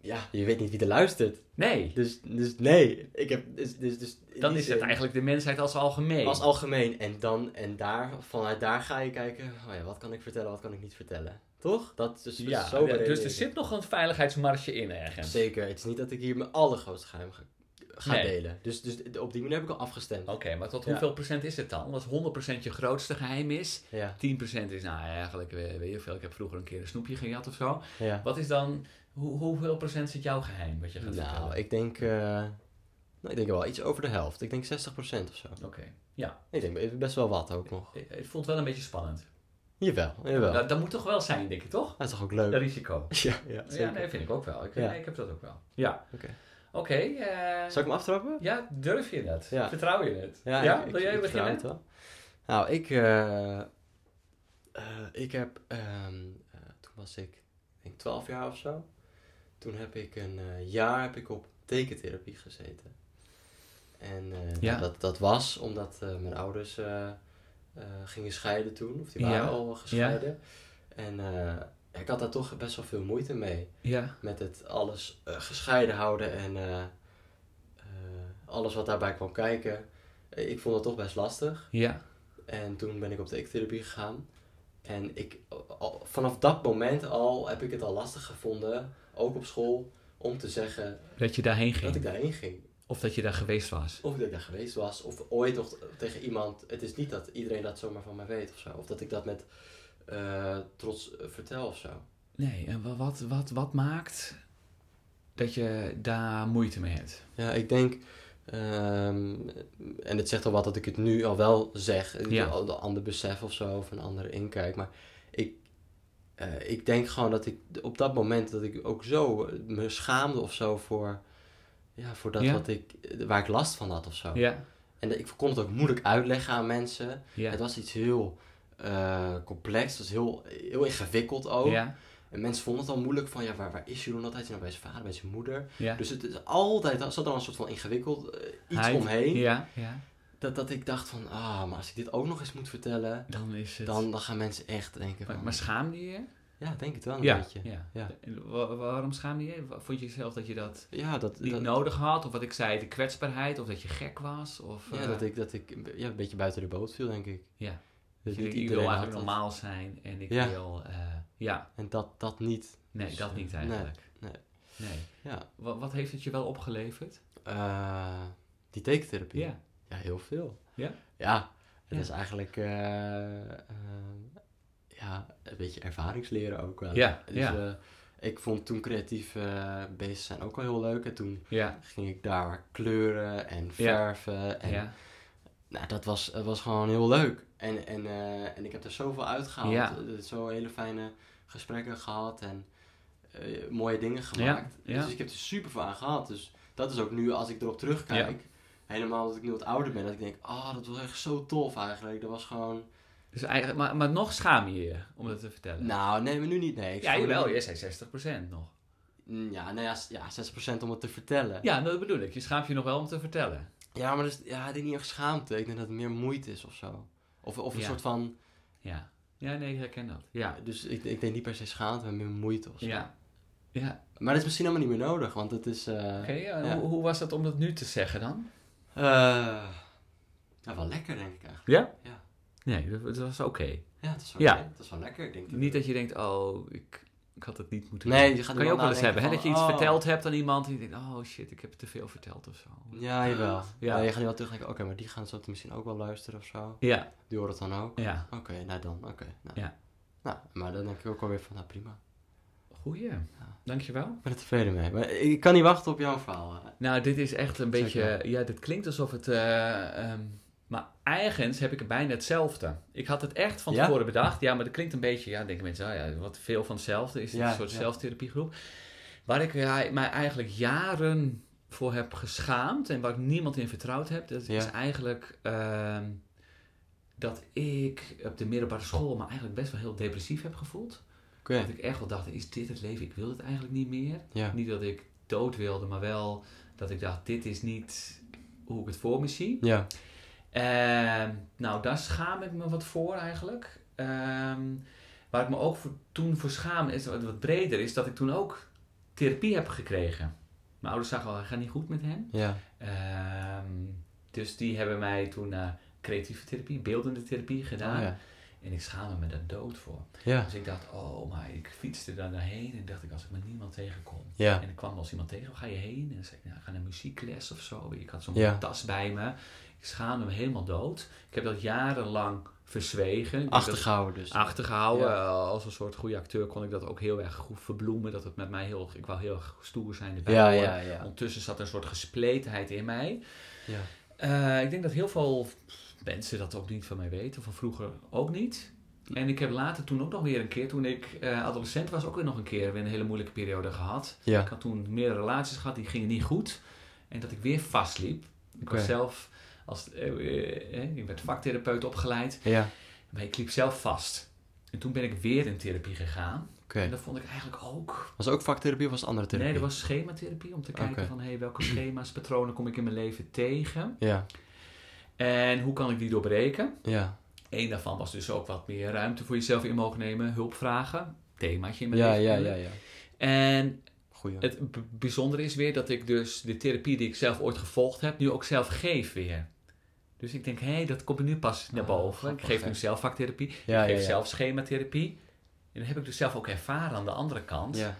ja, je weet niet wie er luistert.
Nee,
Dus, dus nee. Ik heb, dus, dus, dus in
dan
die
is het
zin-
eigenlijk de mensheid als algemeen.
Als algemeen. En dan en daar, vanuit daar ga je kijken, oh ja, wat kan ik vertellen, wat kan ik niet vertellen. Toch? Dat is dus
ja,
zo
ja, dus
beredeneerd.
er zit nog een veiligheidsmarge in ergens.
Zeker, het is niet dat ik hier mijn allergrootste geheim ga, ga
Nee.
delen. Dus, dus op die manier heb ik al afgestemd.
Oké, maar tot
Ja.
hoeveel procent is het dan? Als 100% je grootste geheim is, 10%
Ja,
is nou eigenlijk, eh, weet je veel, ik heb vroeger een keer een snoepje gejat of zo.
ja.
Wat is dan, hoe- hoeveel procent zit jouw geheim wat je gaat vertellen?
Nou, ik denk, eh, nou, ik denk wel iets over de helft. Ik denk 60% of zo.
Oké,
Ik denk best wel wat ook nog.
Eh, het voelt wel een beetje spannend.
Jawel, jawel.
Dat, dat moet toch wel zijn, denk ik, toch?
Dat is toch ook leuk?
Dat risico.
Ja, ja,
Ja,
zeker.
nee, vind ik ook wel. Ik,
Ja.
nee, ik heb dat ook wel. Ja.
Oké.
Oké. eh,
Zal ik hem aftrappen?
Ja, durf je dat?
Ja.
Vertrouw je het?
ik-
wil
ik-
jij
ik vertrouw
beginnen?
het wel. Nou, ik, eh, eh, ik heb, ehm, eh, toen was ik, ik denk 12 jaar of zo. Toen heb ik een eh, jaar heb ik op tekentherapie gezeten. En eh,
Ja.
dat, dat was omdat eh, mijn ouders eh, eh, gingen scheiden toen, of die waren
Ja.
al gescheiden. En eh, ik had daar toch best wel veel moeite mee
Ja.
met het alles eh, gescheiden houden en eh, eh, alles wat daarbij kwam kijken. Eh, Ik vond dat toch best lastig.
Ja.
En toen ben ik op de ektherapie gegaan. En ik, al- vanaf dat moment al heb ik het al lastig gevonden, ook op school, om te zeggen
Dat je daarheen ging.
dat ik daarheen ging.
Of dat je daar geweest was.
Of dat ik daar geweest was, of ooit nog tegen iemand. Het is niet dat iedereen dat zomaar van mij weet of zo. Of dat ik dat met eh, trots eh, vertel of zo.
Nee, en wa- wat, wat, wat maakt dat je daar moeite mee hebt?
Ja, ik denk, ehm, en het zegt al wat dat ik het nu al wel zeg, en
Ja.
al- een ander besef of zo, of een andere inkijk, maar ik, eh, ik denk gewoon dat ik op dat moment dat ik ook zo eh, me schaamde of zo voor, ja, voor dat
Ja.
wat ik, eh, waar ik last van had of zo.
Ja.
En ik kon het ook moeilijk uitleggen aan mensen.
Ja.
Het was iets heel eh, complex, het was heel, heel ingewikkeld ook.
Ja.
En mensen vonden het al moeilijk van, ja, waar, waar is Jeroen altijd? Is hij nou bij zijn vader, bij zijn moeder?
Ja.
Dus het is altijd, er zat er een soort van ingewikkeld eh, iets
Hij-
omheen.
Ja. ja.
Dat, dat ik dacht van, ah, maar als ik dit ook nog eens moet vertellen,
Dan is het...
dan, dan gaan mensen echt denken van...
Maar, maar schaamde je je?
ja, denk het wel een beetje. Ja,
ja.
Ja.
En wa- waarom schaamde je je? Wa- Vond je zelf dat je dat
dat,
niet
dat,
nodig had? Of wat ik zei, de kwetsbaarheid? Of dat je gek was? Of,
ja,
eh,
dat ik, dat ik ja, een beetje buiten de boot viel, denk ik.
Ja.
Dat
je
niet
denkt, ik wil
iedereen had
eigenlijk
dat.
normaal zijn. En ik
Ja.
wil... eh, ja,
En dat, dat niet.
nee,
Dus,
dat
eh,
niet eigenlijk.
nee, nee.
Nee.
Ja.
Wa- Wat, heeft het je wel opgeleverd?
Eh, die tekentherapie.
Ja.
Ja, heel veel.
Ja?
Ja, het
Ja.
is eigenlijk eh, eh, ja, een beetje ervaringsleren ook wel.
Ja,
Dus
ja.
eh, ik vond toen creatief eh, bezig zijn ook wel heel leuk. En toen
Ja.
ging ik daar kleuren en verven. En
Ja.
nou, dat was, dat was gewoon heel leuk. En, en, eh, en ik heb er zoveel uitgehaald.
Ja.
Eh, Zo hele fijne gesprekken gehad en eh, mooie dingen gemaakt.
Ja, ja.
Dus ik heb er super veel aan gehad. Dus dat is ook nu, als ik erop terugkijk, helemaal dat ik nu wat ouder ben, dat ik denk, oh, dat was echt zo tof eigenlijk. Dat was gewoon...
Dus eigenlijk, maar, maar nog schaam je je om dat te vertellen.
Nou, nee, maar nu niet. Nee, ik
ja,
vond-
jawel. Je zei 60% nog.
Mm, Ja, nou ja, s- ja, 60% om het te vertellen.
Ja, dat bedoel ik. Je schaamt je nog wel om te vertellen.
Ja, maar dat is, ja, ik denk niet echt schaamte. Ik denk dat het meer moeite is of zo. Of, of een
Ja.
soort van...
Ja. Ja, nee, ik herken dat. Ja.
Dus ik, ik denk niet per se schaamte, maar meer moeite of zo.
Ja. Ja.
Maar dat is misschien helemaal niet meer nodig, want het is... eh
Oké, ja,
Ja.
Hoe, hoe was dat om dat nu te zeggen dan?
eh, ja, wel lekker, denk ik eigenlijk.
Ja?
Ja.
Nee, dat, dat was oké.
Ja, het is wel,
Ja.
Het is wel lekker. Ik denk
Niet dat je denkt, oh, ik, ik had het niet moeten
Nee,
doen.
je gaat
kan je ook
iemand
wel eens hebben, hè?
nadenken
Dat je iets
van, oh.
verteld hebt aan iemand en je denkt, oh shit, ik heb te veel verteld of zo.
Ja, jawel.
Ja.
Ja. je gaat nu wel terugdenken, oké, maar die gaan zo misschien ook wel luisteren of zo.
Ja,
Die horen het dan ook.
ja.
Oké, nou dan, oké. nou.
Ja.
Nou, maar dan denk ik ook alweer van, nou prima.
Goeie, dankjewel.
Ik ben er tevreden mee. Maar ik kan niet wachten op jouw verhaal. eh. hè.
Nou, dit is echt een
Zeker.
beetje, ja, dit klinkt alsof het, eh, ehm, maar ergens heb ik het bijna hetzelfde. Ik had het echt van
Ja?
tevoren bedacht, ja, maar dat klinkt een beetje, ja, denken mensen, oh ja, wat veel van hetzelfde, is dit
Ja,
een soort
ja.
zelftherapiegroep. Waar ik ja, mij eigenlijk jaren voor heb geschaamd en waar ik niemand in vertrouwd heb, dat
Ja.
is eigenlijk ehm, dat ik op de middelbare school me eigenlijk best wel heel depressief heb gevoeld.
Oké,
Dat ik echt wel dacht, is dit het leven? Ik wil het eigenlijk niet meer.
ja.
Niet dat ik dood wilde, maar wel dat ik dacht, dit is niet hoe ik het voor me zie.
Ja,
Ehm, nou, daar schaam ik me wat voor eigenlijk. Ehm, waar ik me ook voor, toen voor schaam, is wat wat breder, is dat ik toen ook therapie heb gekregen. Mijn ouders zagen al, het gaat niet goed met hem.
ja.
Ehm, dus die hebben mij toen naar creatieve therapie, beeldende therapie gedaan.
Oh, ja.
En ik schaamde me daar dood voor.
Ja,
Dus ik dacht, oh, maar ik fietste daar naarheen en dacht ik, als ik met niemand tegenkom.
ja.
En ik kwam wel eens iemand tegen, waar ga je heen? En dan zei ik, nou, ik ga naar muziekles of zo. Ik had zo'n
Ja.
tas bij me. Ik schaamde me helemaal dood. Ik heb dat jarenlang verzwegen. Ik denk dat-
Achtergehouden dus.
Achtergehouden.
Ja.
Eh, Als een soort goede acteur kon ik dat ook heel erg goed verbloemen. Dat het met mij heel... Ik wou heel erg stoer zijn erbij.
Ja,
horen.
ja, ja.
Ondertussen zat er een soort gespletenheid in mij.
Ja.
Eh, ik denk dat heel veel mensen dat ook niet van mij weten. Van vroeger ook niet. En ik heb later toen ook nog weer een keer, toen ik eh, adolescent was, ook weer nog een keer weer een hele moeilijke periode gehad. Ik
Ja,
had toen meerdere relaties gehad, die gingen niet goed. En dat ik weer vastliep. Ik was
Oké.
zelf, als, eh, eh, eh, ik werd vaktherapeut opgeleid,
ja.
maar ik liep zelf vast. En toen ben ik weer in therapie gegaan.
Oké.
En dat vond ik eigenlijk ook.
Was ook vaktherapie of was het andere therapie?
Nee, dat was schematherapie. Om te kijken
Oké.
van hey, welke schema's, patronen kom ik in mijn leven tegen.
Ja,
En hoe kan ik die doorbreken?
ja.
Eén daarvan was dus ook wat meer ruimte voor jezelf in mogen nemen. Hulp vragen. Themaatje in mijn
Ja,
leven.
ja, ja, ja.
En
Goeie.
Het b- bijzondere is weer dat ik dus de therapie die ik zelf ooit gevolgd heb, nu ook zelf geef weer. Dus ik denk, hé, dat komt nu pas naar
Ah,
boven. ik
grappig,
geef
hè?
nu zelf vaktherapie,
Ja,
ik
ja,
geef
ja.
zelf schematherapie. En dat heb ik dus zelf ook ervaren aan de andere kant.
Ja,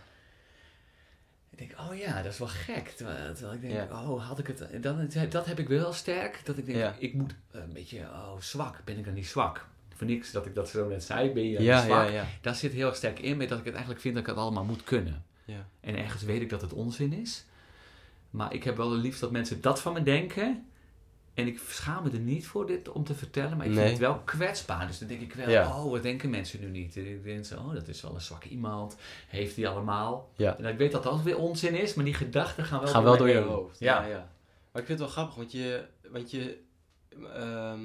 Ik denk, oh ja, dat is wel gek. Terwijl terwijl ik denk,
Ja.
oh, had ik het... Dan, dat heb ik wel sterk. Dat ik denk,
Ja.
ik moet eh, een beetje, oh, zwak. Ben ik dan niet zwak? Voor niks dat ik dat zo net zei, ben je dan
ja,
niet zwak?
ja, ja.
Daar zit heel erg sterk in, met dat ik het eigenlijk vind dat ik het allemaal moet kunnen.
Ja.
En ergens weet ik dat het onzin is. Maar ik heb wel het liefst dat mensen dat van me denken. En ik schaam me er niet voor dit om te vertellen, maar ik
Nee.
vind het wel kwetsbaar. Dus dan denk ik wel,
Ja.
oh, wat denken mensen nu niet? En ik denk zo, oh, dat is wel een zwak iemand. Heeft die allemaal?
Ja.
En ik weet dat dat weer onzin is, maar die gedachten gaan wel
Gaan wel
mij
door je
heen.
hoofd.
Ja.
Ja. ja, Maar ik vind het wel grappig, want je... Want je, ehm,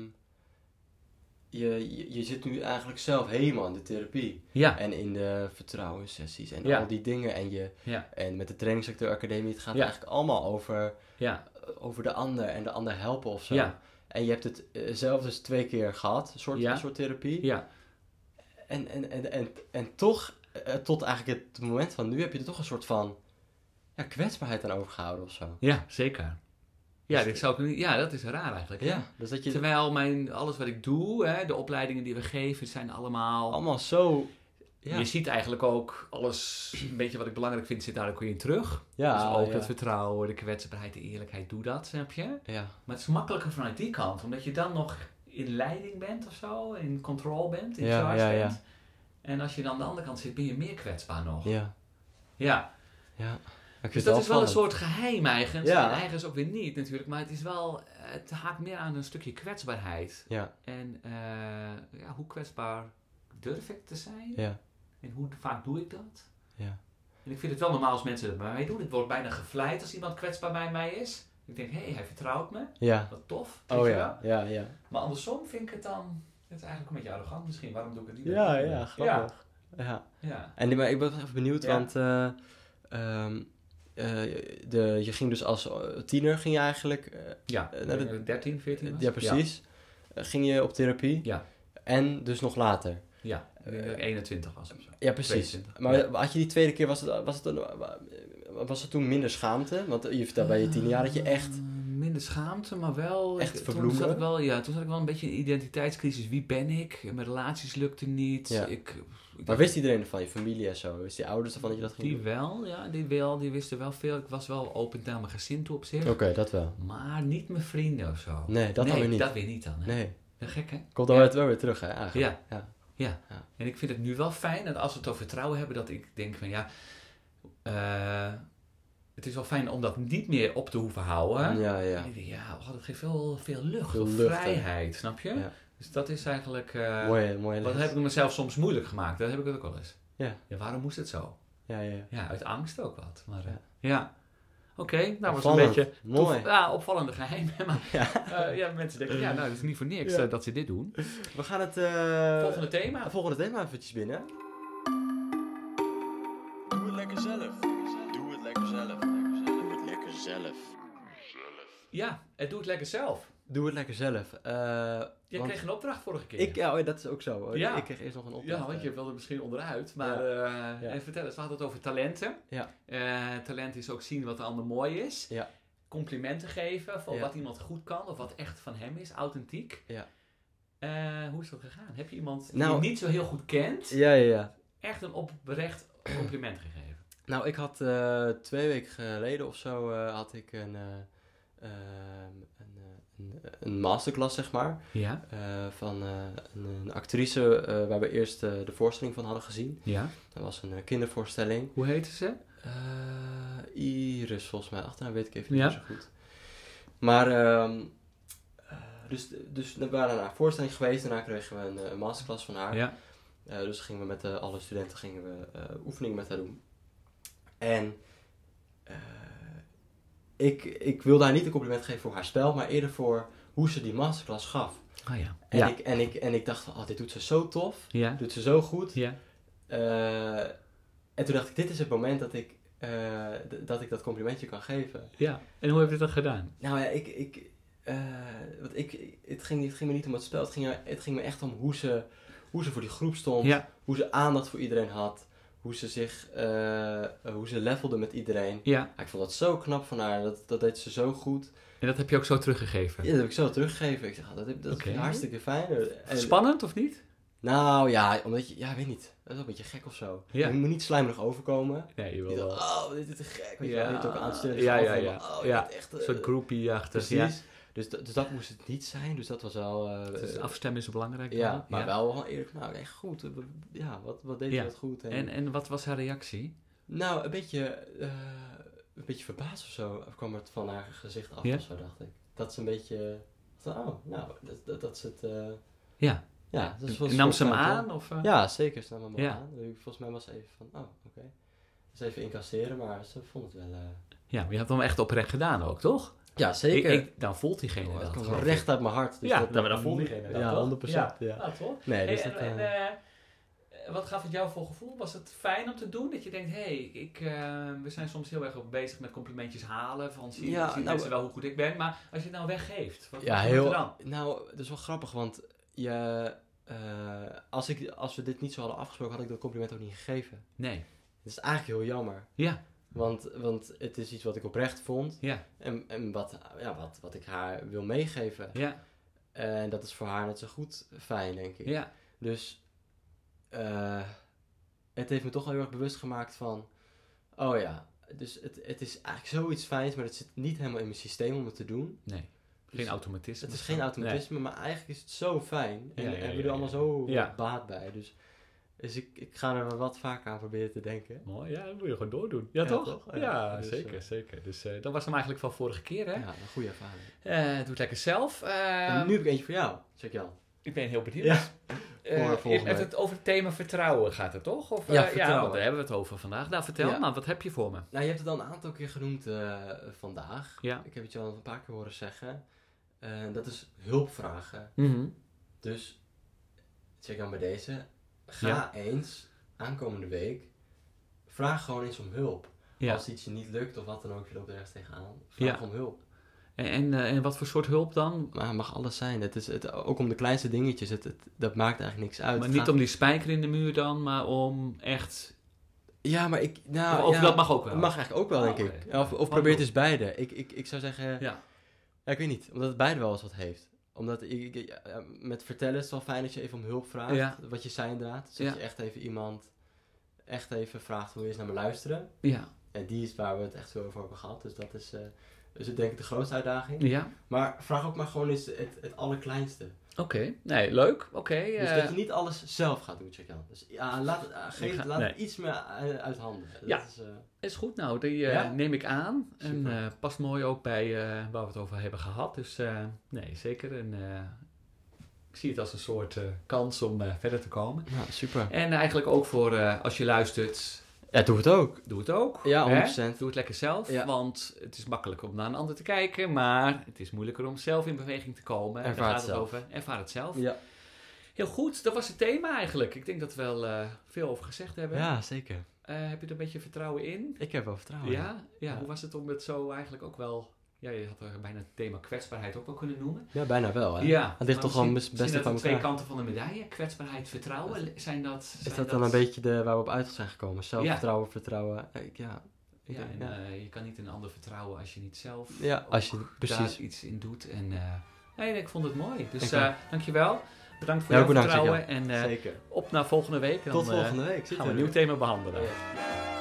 je, je, je zit nu eigenlijk zelf helemaal in de therapie.
Ja,
En in de vertrouwenssessies en
Ja.
al die dingen. En, je,
Ja.
en met de trainingssector academie, het gaat
Ja.
eigenlijk allemaal over,
ja,
over de ander en de ander helpen of zo.
ja,
En je hebt het eh, zelf dus twee keer gehad, een soort,
Ja.
een soort therapie.
ja,
En, en, en, en, en toch, eh, tot eigenlijk het moment van nu, heb je er toch een soort van ja, kwetsbaarheid aan overgehouden of zo.
ja, zeker. Ja,
Dus-
dit zou ik niet, ja, dat is raar eigenlijk. hè?
Ja, dus dat je
Terwijl mijn, alles wat ik doe, hè, de opleidingen die we geven, zijn allemaal
allemaal zo... Ja,
Je ziet eigenlijk ook alles, een beetje wat ik belangrijk vind, zit daar ook weer in terug.
ja,
dus ook
ja.
het vertrouwen, de kwetsbaarheid, de eerlijkheid, doe dat, snap je?
ja.
Maar het is makkelijker vanuit die kant, omdat je dan nog in leiding bent of zo, in control bent, in
Ja,
charge
ja, ja.
bent. En als je dan aan de andere kant zit, ben je meer kwetsbaar nog. Ja.
ja, ja. Ik
Dus
vind
dat
het
is wel een
opvallend.
soort geheim eigens.
Ja.
En eigens ook weer niet natuurlijk, maar het is wel, het haakt meer aan een stukje kwetsbaarheid.
Ja,
En eh, ja, hoe kwetsbaar durf ik te zijn?
ja,
En hoe vaak doe ik dat?
ja.
En ik vind het wel normaal als mensen dat bij mij doen. Ik word bijna gevleid als iemand kwetsbaar bij mij is. Ik denk, hé, hey, hij vertrouwt me.
Ja.
Wat tof. weet
Oh
je
ja,
wel.
ja, ja.
Maar andersom vind ik het dan... Het is eigenlijk een beetje arrogant misschien. Waarom doe ik het niet?
Ja, ja, grappig. Ja.
Ja, ja.
En die- maar ik ben wel even benieuwd,
Ja.
want eh, ehm, eh, de, je ging dus als eh, tiener ging je eigenlijk eh,
ja.
Eh, nou, dat-
13, 14 was
Ja,
het?
precies. Eh, Ging je op therapie?
Ja.
En dus nog later. Eh,
Ja, ja. Ik denk dat ik 21 was of zo.
Ja, precies.
22,
Maar had je die tweede keer, was het, was, het, een- was het toen minder schaamte? Want je vertelde bij je tien jaar dat je echt...
Eh, minder schaamte, maar wel...
Echt
ik- Toen
verbloemen?
zat, ik wel, ja, toen zat ik wel een beetje in een identiteitscrisis. Wie ben ik? Mijn relaties lukten niet.
Ja.
Ik, ik
Maar wist iedereen ervan, je familie en zo? Wist die ouders ervan dat je dat ging
Die
doen?
wel, ja, die wel. Die wisten wel veel. Ik was wel open naar mijn gezin toe op zich.
Oké, dat wel.
Maar niet mijn vrienden of zo.
Oh. Nee, dat dan weer niet.
dat weer niet dan. Hè?
Nee.
Ja, gek hè?
Komt dan
Ja.
wel weer terug, hè, eigenlijk. Ja.
Ja.
Ja.
En ik vind het nu wel fijn dat als we het over vertrouwen hebben, dat ik denk van ja, eh, het is wel fijn om dat niet meer op te hoeven houden.
Ja,
En
ja.
ik denk, ja oh, dat geeft veel, veel lucht,
Veel
veel
lucht, hè.
vrijheid, snap je?
Ja.
Dus dat is eigenlijk, eh,
Mooie, mooie
wat
les.
heb ik mezelf soms moeilijk gemaakt, dat heb ik ook wel eens.
Ja.
ja waarom moest het zo?
Ja, ja.
Ja, uit angst ook wat. Maar, eh,
Ja.
ja. Oké, nou was een
Opvallend.
beetje
Mooi.
tof- ja, opvallende geheimen. Maar
Ja.
eh, ja, mensen denken, ja, nou, het is niet voor niks
Ja.
eh, dat ze dit doen.
We gaan het... eh,
Volgende thema.
volgende thema eventjes binnen.
Doe het lekker zelf. Doe het lekker zelf. Doe het lekker zelf.
Ja, en doe het lekker zelf.
Doe het lekker zelf. Eh,
Jij
want
kreeg een opdracht vorige keer.
Ik, ja, oh, dat is ook zo. hoor.
Ja.
Ik kreeg eerst nog een opdracht.
ja, want
eh.
je wilde er misschien onderuit. Maar eh,
Ja.
en vertel eens, we hadden het over talenten.
Ja.
Eh, talent is ook zien wat de ander mooi is.
Ja.
Complimenten geven voor
Ja.
wat iemand goed kan of wat echt van hem is, authentiek.
Ja.
Eh, hoe is dat gegaan? Heb je iemand
Nou- eh,
die je niet zo heel goed kent,
Ja, ja, ja.
echt een oprecht compliment gegeven?
Nou, ik had eh, twee weken geleden of zo eh, had ik een, eh, ehm, een, eh, een, een masterclass, zeg maar.
Ja,
eh, van eh, een, een actrice eh, waar we eerst eh, de voorstelling van hadden gezien.
ja.
Dat was een eh, kindervoorstelling.
Hoe heette ze?
Eh, Iris, volgens mij. Achternaam weet ik even
Ja.
niet meer zo goed. Maar, ehm, eh, dus, dus we waren naar een voorstelling geweest. Daarna kregen we een, eh, een masterclass van haar.
Ja.
Eh, dus gingen we met eh, alle studenten gingen we, eh, oefeningen met haar doen. En eh, ik, ik wilde haar niet een compliment geven voor haar spel, maar eerder voor hoe ze die masterclass gaf.
Ah ja.
En,
ja.
ik, en, ik, en ik dacht van, oh, dit doet ze zo tof,
ja.
doet ze zo goed.
Ja.
Eh, en toen dacht ik, dit is het moment dat ik, eh, d- dat, ik dat complimentje kan geven.
Ja. En hoe heb je dat gedaan?
Nou ja, ik, ik, eh, want ik, het, ging, niet- het ging me niet om het spel, het ging, het ging me echt om hoe ze, hoe ze voor die groep stond
Ja.
hoe ze aandacht voor iedereen had. Hoe ze zich, eh, hoe ze levelde met iedereen.
Ja.
Ja, ik vond dat zo knap van haar. Dat, dat deed ze zo goed.
En dat heb je ook zo teruggegeven.
Ja, dat heb ik zo teruggegeven. Ik zeg, ah, dat, heb- dat
Oké.
is hartstikke fijn. En-
Spannend of niet?
Nou ja, omdat je, ja, weet niet. Dat is wel een beetje gek of zo.
Ja.
Je moet niet slijmerig overkomen.
Nee, je
Je dacht, oh, dit is te gek. Weet je
Ja.
wel, je hebt ook aanstelling.
Ja, ja, ja.
Oh, je
Ja.
bent echt... eh,
soort groupie-achtig.
precies.
Ja.
Dus, dat- dus dat moest het niet zijn. Dus dat was wel... eh,
Dus afstemmen is belangrijk.
ja, maar
Ja.
wel eerlijk. Nou, echt goed. Ja, wat, wat deed je
Ja.
dat goed.
En, en wat was haar reactie?
Nou, een beetje, eh, een beetje verbaasd of zo kwam het van haar gezicht af
Ja?
of zo, dacht ik. Dat ze een beetje, van, oh, nou, dat, dat, dat ze het... eh,
Ja.
ja, dat
En nam ze hem aan? Of, eh?
Ja, zeker, ze nam hem wel
Ja.
aan. Dus ik- Volgens mij was ze even van, oh, oké. Dus even incasseren, maar ze vond het wel... eh,
Ja, maar je hebt hem echt oprecht gedaan ook, toch?
ja,
Ik, ik- dan voelt diegene
Oh,
dat.
dat kwam
geloof ik.
recht uit mijn hart. Dus
ja, Nou,
dat,
dan, dan voelt diegene dat,
Ja,
toch?
100%. Ja.
Ja, toch?
Nee,
Hey,
dus
en
dat... eh,
en, eh, wat gaf het jou voor gevoel? Was het fijn om te doen? Dat je denkt, hé, hey, ik, eh, we zijn soms heel erg bezig met complimentjes halen. Van, zien,
Ja,
zien
nou,
mensen wel hoe goed ik ben? Maar als je het nou weggeeft, wat
Ja,
wat
heel.
gebeurt er dan?
Nou, dat is wel grappig, want je, eh, als, ik, als we dit niet zo hadden afgesproken, had ik dat compliment ook niet gegeven.
Nee.
Dat is eigenlijk heel jammer.
Ja.
Want, want het is iets wat ik oprecht vond
Ja,
en, en wat, ja, wat, wat ik haar wil meegeven.
ja,
En dat is voor haar net zo goed fijn, denk ik.
ja.
Dus eh, het heeft me toch wel heel erg bewust gemaakt van, oh ja, dus het, het is eigenlijk zoiets fijns, maar het zit niet helemaal in mijn systeem om het te doen.
Nee. Geen
Dus-
automatisme.
Het is geen automatisme, maar eigenlijk is het zo fijn. En
Ja, ja,
hebben we
ja,
er
ja.
allemaal zo
Ja.
baat bij. Dus, dus ik, ik ga er wel wat vaker aan proberen te denken.
Mooi, ja, dat moet je gewoon doordoen. Ja,
Ja,
toch?
toch?
Ja,
Ja, dus,
zeker,
eh,
zeker. Dus eh, dat was hem eigenlijk van vorige keer, hè?
Ja, een goede ervaring.
Eh, doe het lekker zelf. Eh,
en nu heb ik eentje voor jou, zeg Jan.
Ik ben heel benieuwd.
Ja.
Eh,
Voor volgende week.
het, het over het thema vertrouwen gaat het, toch? Of,
Ja,
eh,
vertrouwen.
want daar hebben we het over vandaag. Nou, vertel
Ja.
maar, wat heb je voor me?
Nou, je hebt het al een aantal keer genoemd eh, vandaag.
Ja.
Ik heb het je al een paar keer horen zeggen. Eh, dat is hulp vragen.
Mhm.
Dus, zeg Jan bij deze, ga
Ja.
eens aankomende week, vraag gewoon eens om hulp.
Ja.
Als iets je niet lukt of wat dan ook, je loopt ergens tegenaan, vraag
Ja.
om hulp.
En, en, eh, en wat voor soort hulp dan?
Maar het mag alles zijn. Het is het, ook om de kleinste dingetjes. Het, het- dat maakt eigenlijk niks uit.
maar
Het
niet
gaat-
om die spijker in de muur dan, maar om echt...
Ja, maar ik... Nou,
of
ja,
dat mag ook wel.
dat mag eigenlijk ook wel, denk
Oh,
ik.
oké.
Of, of
Mag
probeer het
ook.
eens beide. Ik, ik, ik zou zeggen... Ja.
Ja.
ik weet niet. Omdat het beide wel eens wat heeft. Omdat ik, ik- ja, met vertellen is het wel fijn dat je even om hulp vraagt.
Ja.
Wat je zijn draad. Dus dat
Ja.
je echt even iemand echt even vraagt wil je eens naar me luisteren.
Ja.
En die is waar we het echt veel over hebben gehad. Dus dat is, eh is het denk ik de grootste uitdaging.
Ja.
Maar vraag ook maar gewoon eens het, het allerkleinste.
Oké. Nee, leuk. Oké.
Dus
eh,
dat je niet alles zelf gaat doen, check aan. Dus ja, laat, het- eh, geef,
Ik ga-
laat het
nee.
iets meer eh, uit handen. Dat
Ja.
is, eh,
Is goed, nou, die eh,
Ja?
neem ik aan. En
Super.
eh, past mooi ook bij eh, waar we het over hebben gehad. Dus eh, nee, zeker. En eh, ik zie het als een soort eh, kans om eh, verder te komen.
ja, super.
En eigenlijk ook voor eh, als je luistert,
Ja, doe het ook.
doe het ook.
Ja,
hè?
100%.
Doe het lekker zelf,
Ja.
want het is makkelijk om naar een ander te kijken. Maar het is moeilijker om zelf in beweging te komen. En
Ervaar
gaat
het zelf.
over. Ervaar het zelf.
Ja,
Heel goed, dat was het thema eigenlijk. Ik denk dat we wel eh, veel over gezegd hebben.
ja zeker.
Eh, heb je er een beetje vertrouwen in?
Ik heb wel vertrouwen.
ja? Ja,
Oh, Ja.
hoe was het om het zo eigenlijk ook wel... Ja, je had er bijna het thema kwetsbaarheid ook wel kunnen noemen.
ja bijna wel. Hè?
Ja.
Het ligt
maar
toch wel
misschien-
best- best dicht bij
misschien dat de twee
elkaar.
kanten van de medaille. Kwetsbaarheid, vertrouwen. Zijn dat...
Is dat dan een beetje de, waar we op uit zijn gekomen? Zelfvertrouwen, vertrouwen. Ik, ja. Ik
Ja,
denk,
en,
ja.
eh, je kan niet een ander vertrouwen als je niet zelf
Ja,
ook
als je- precies.
daar iets in doet. En eh, nee, nee, ik vond het mooi. Dus
Ik ook.
eh, dankjewel. Bedankt voor
Ja,
jouw
ook bedankt,
vertrouwen. En eh,
Zeker.
op naar volgende week. Dan,
Tot
eh,
volgende week. Zit
gaan we een
er
nieuw
weer.
thema behandelen.
Ja.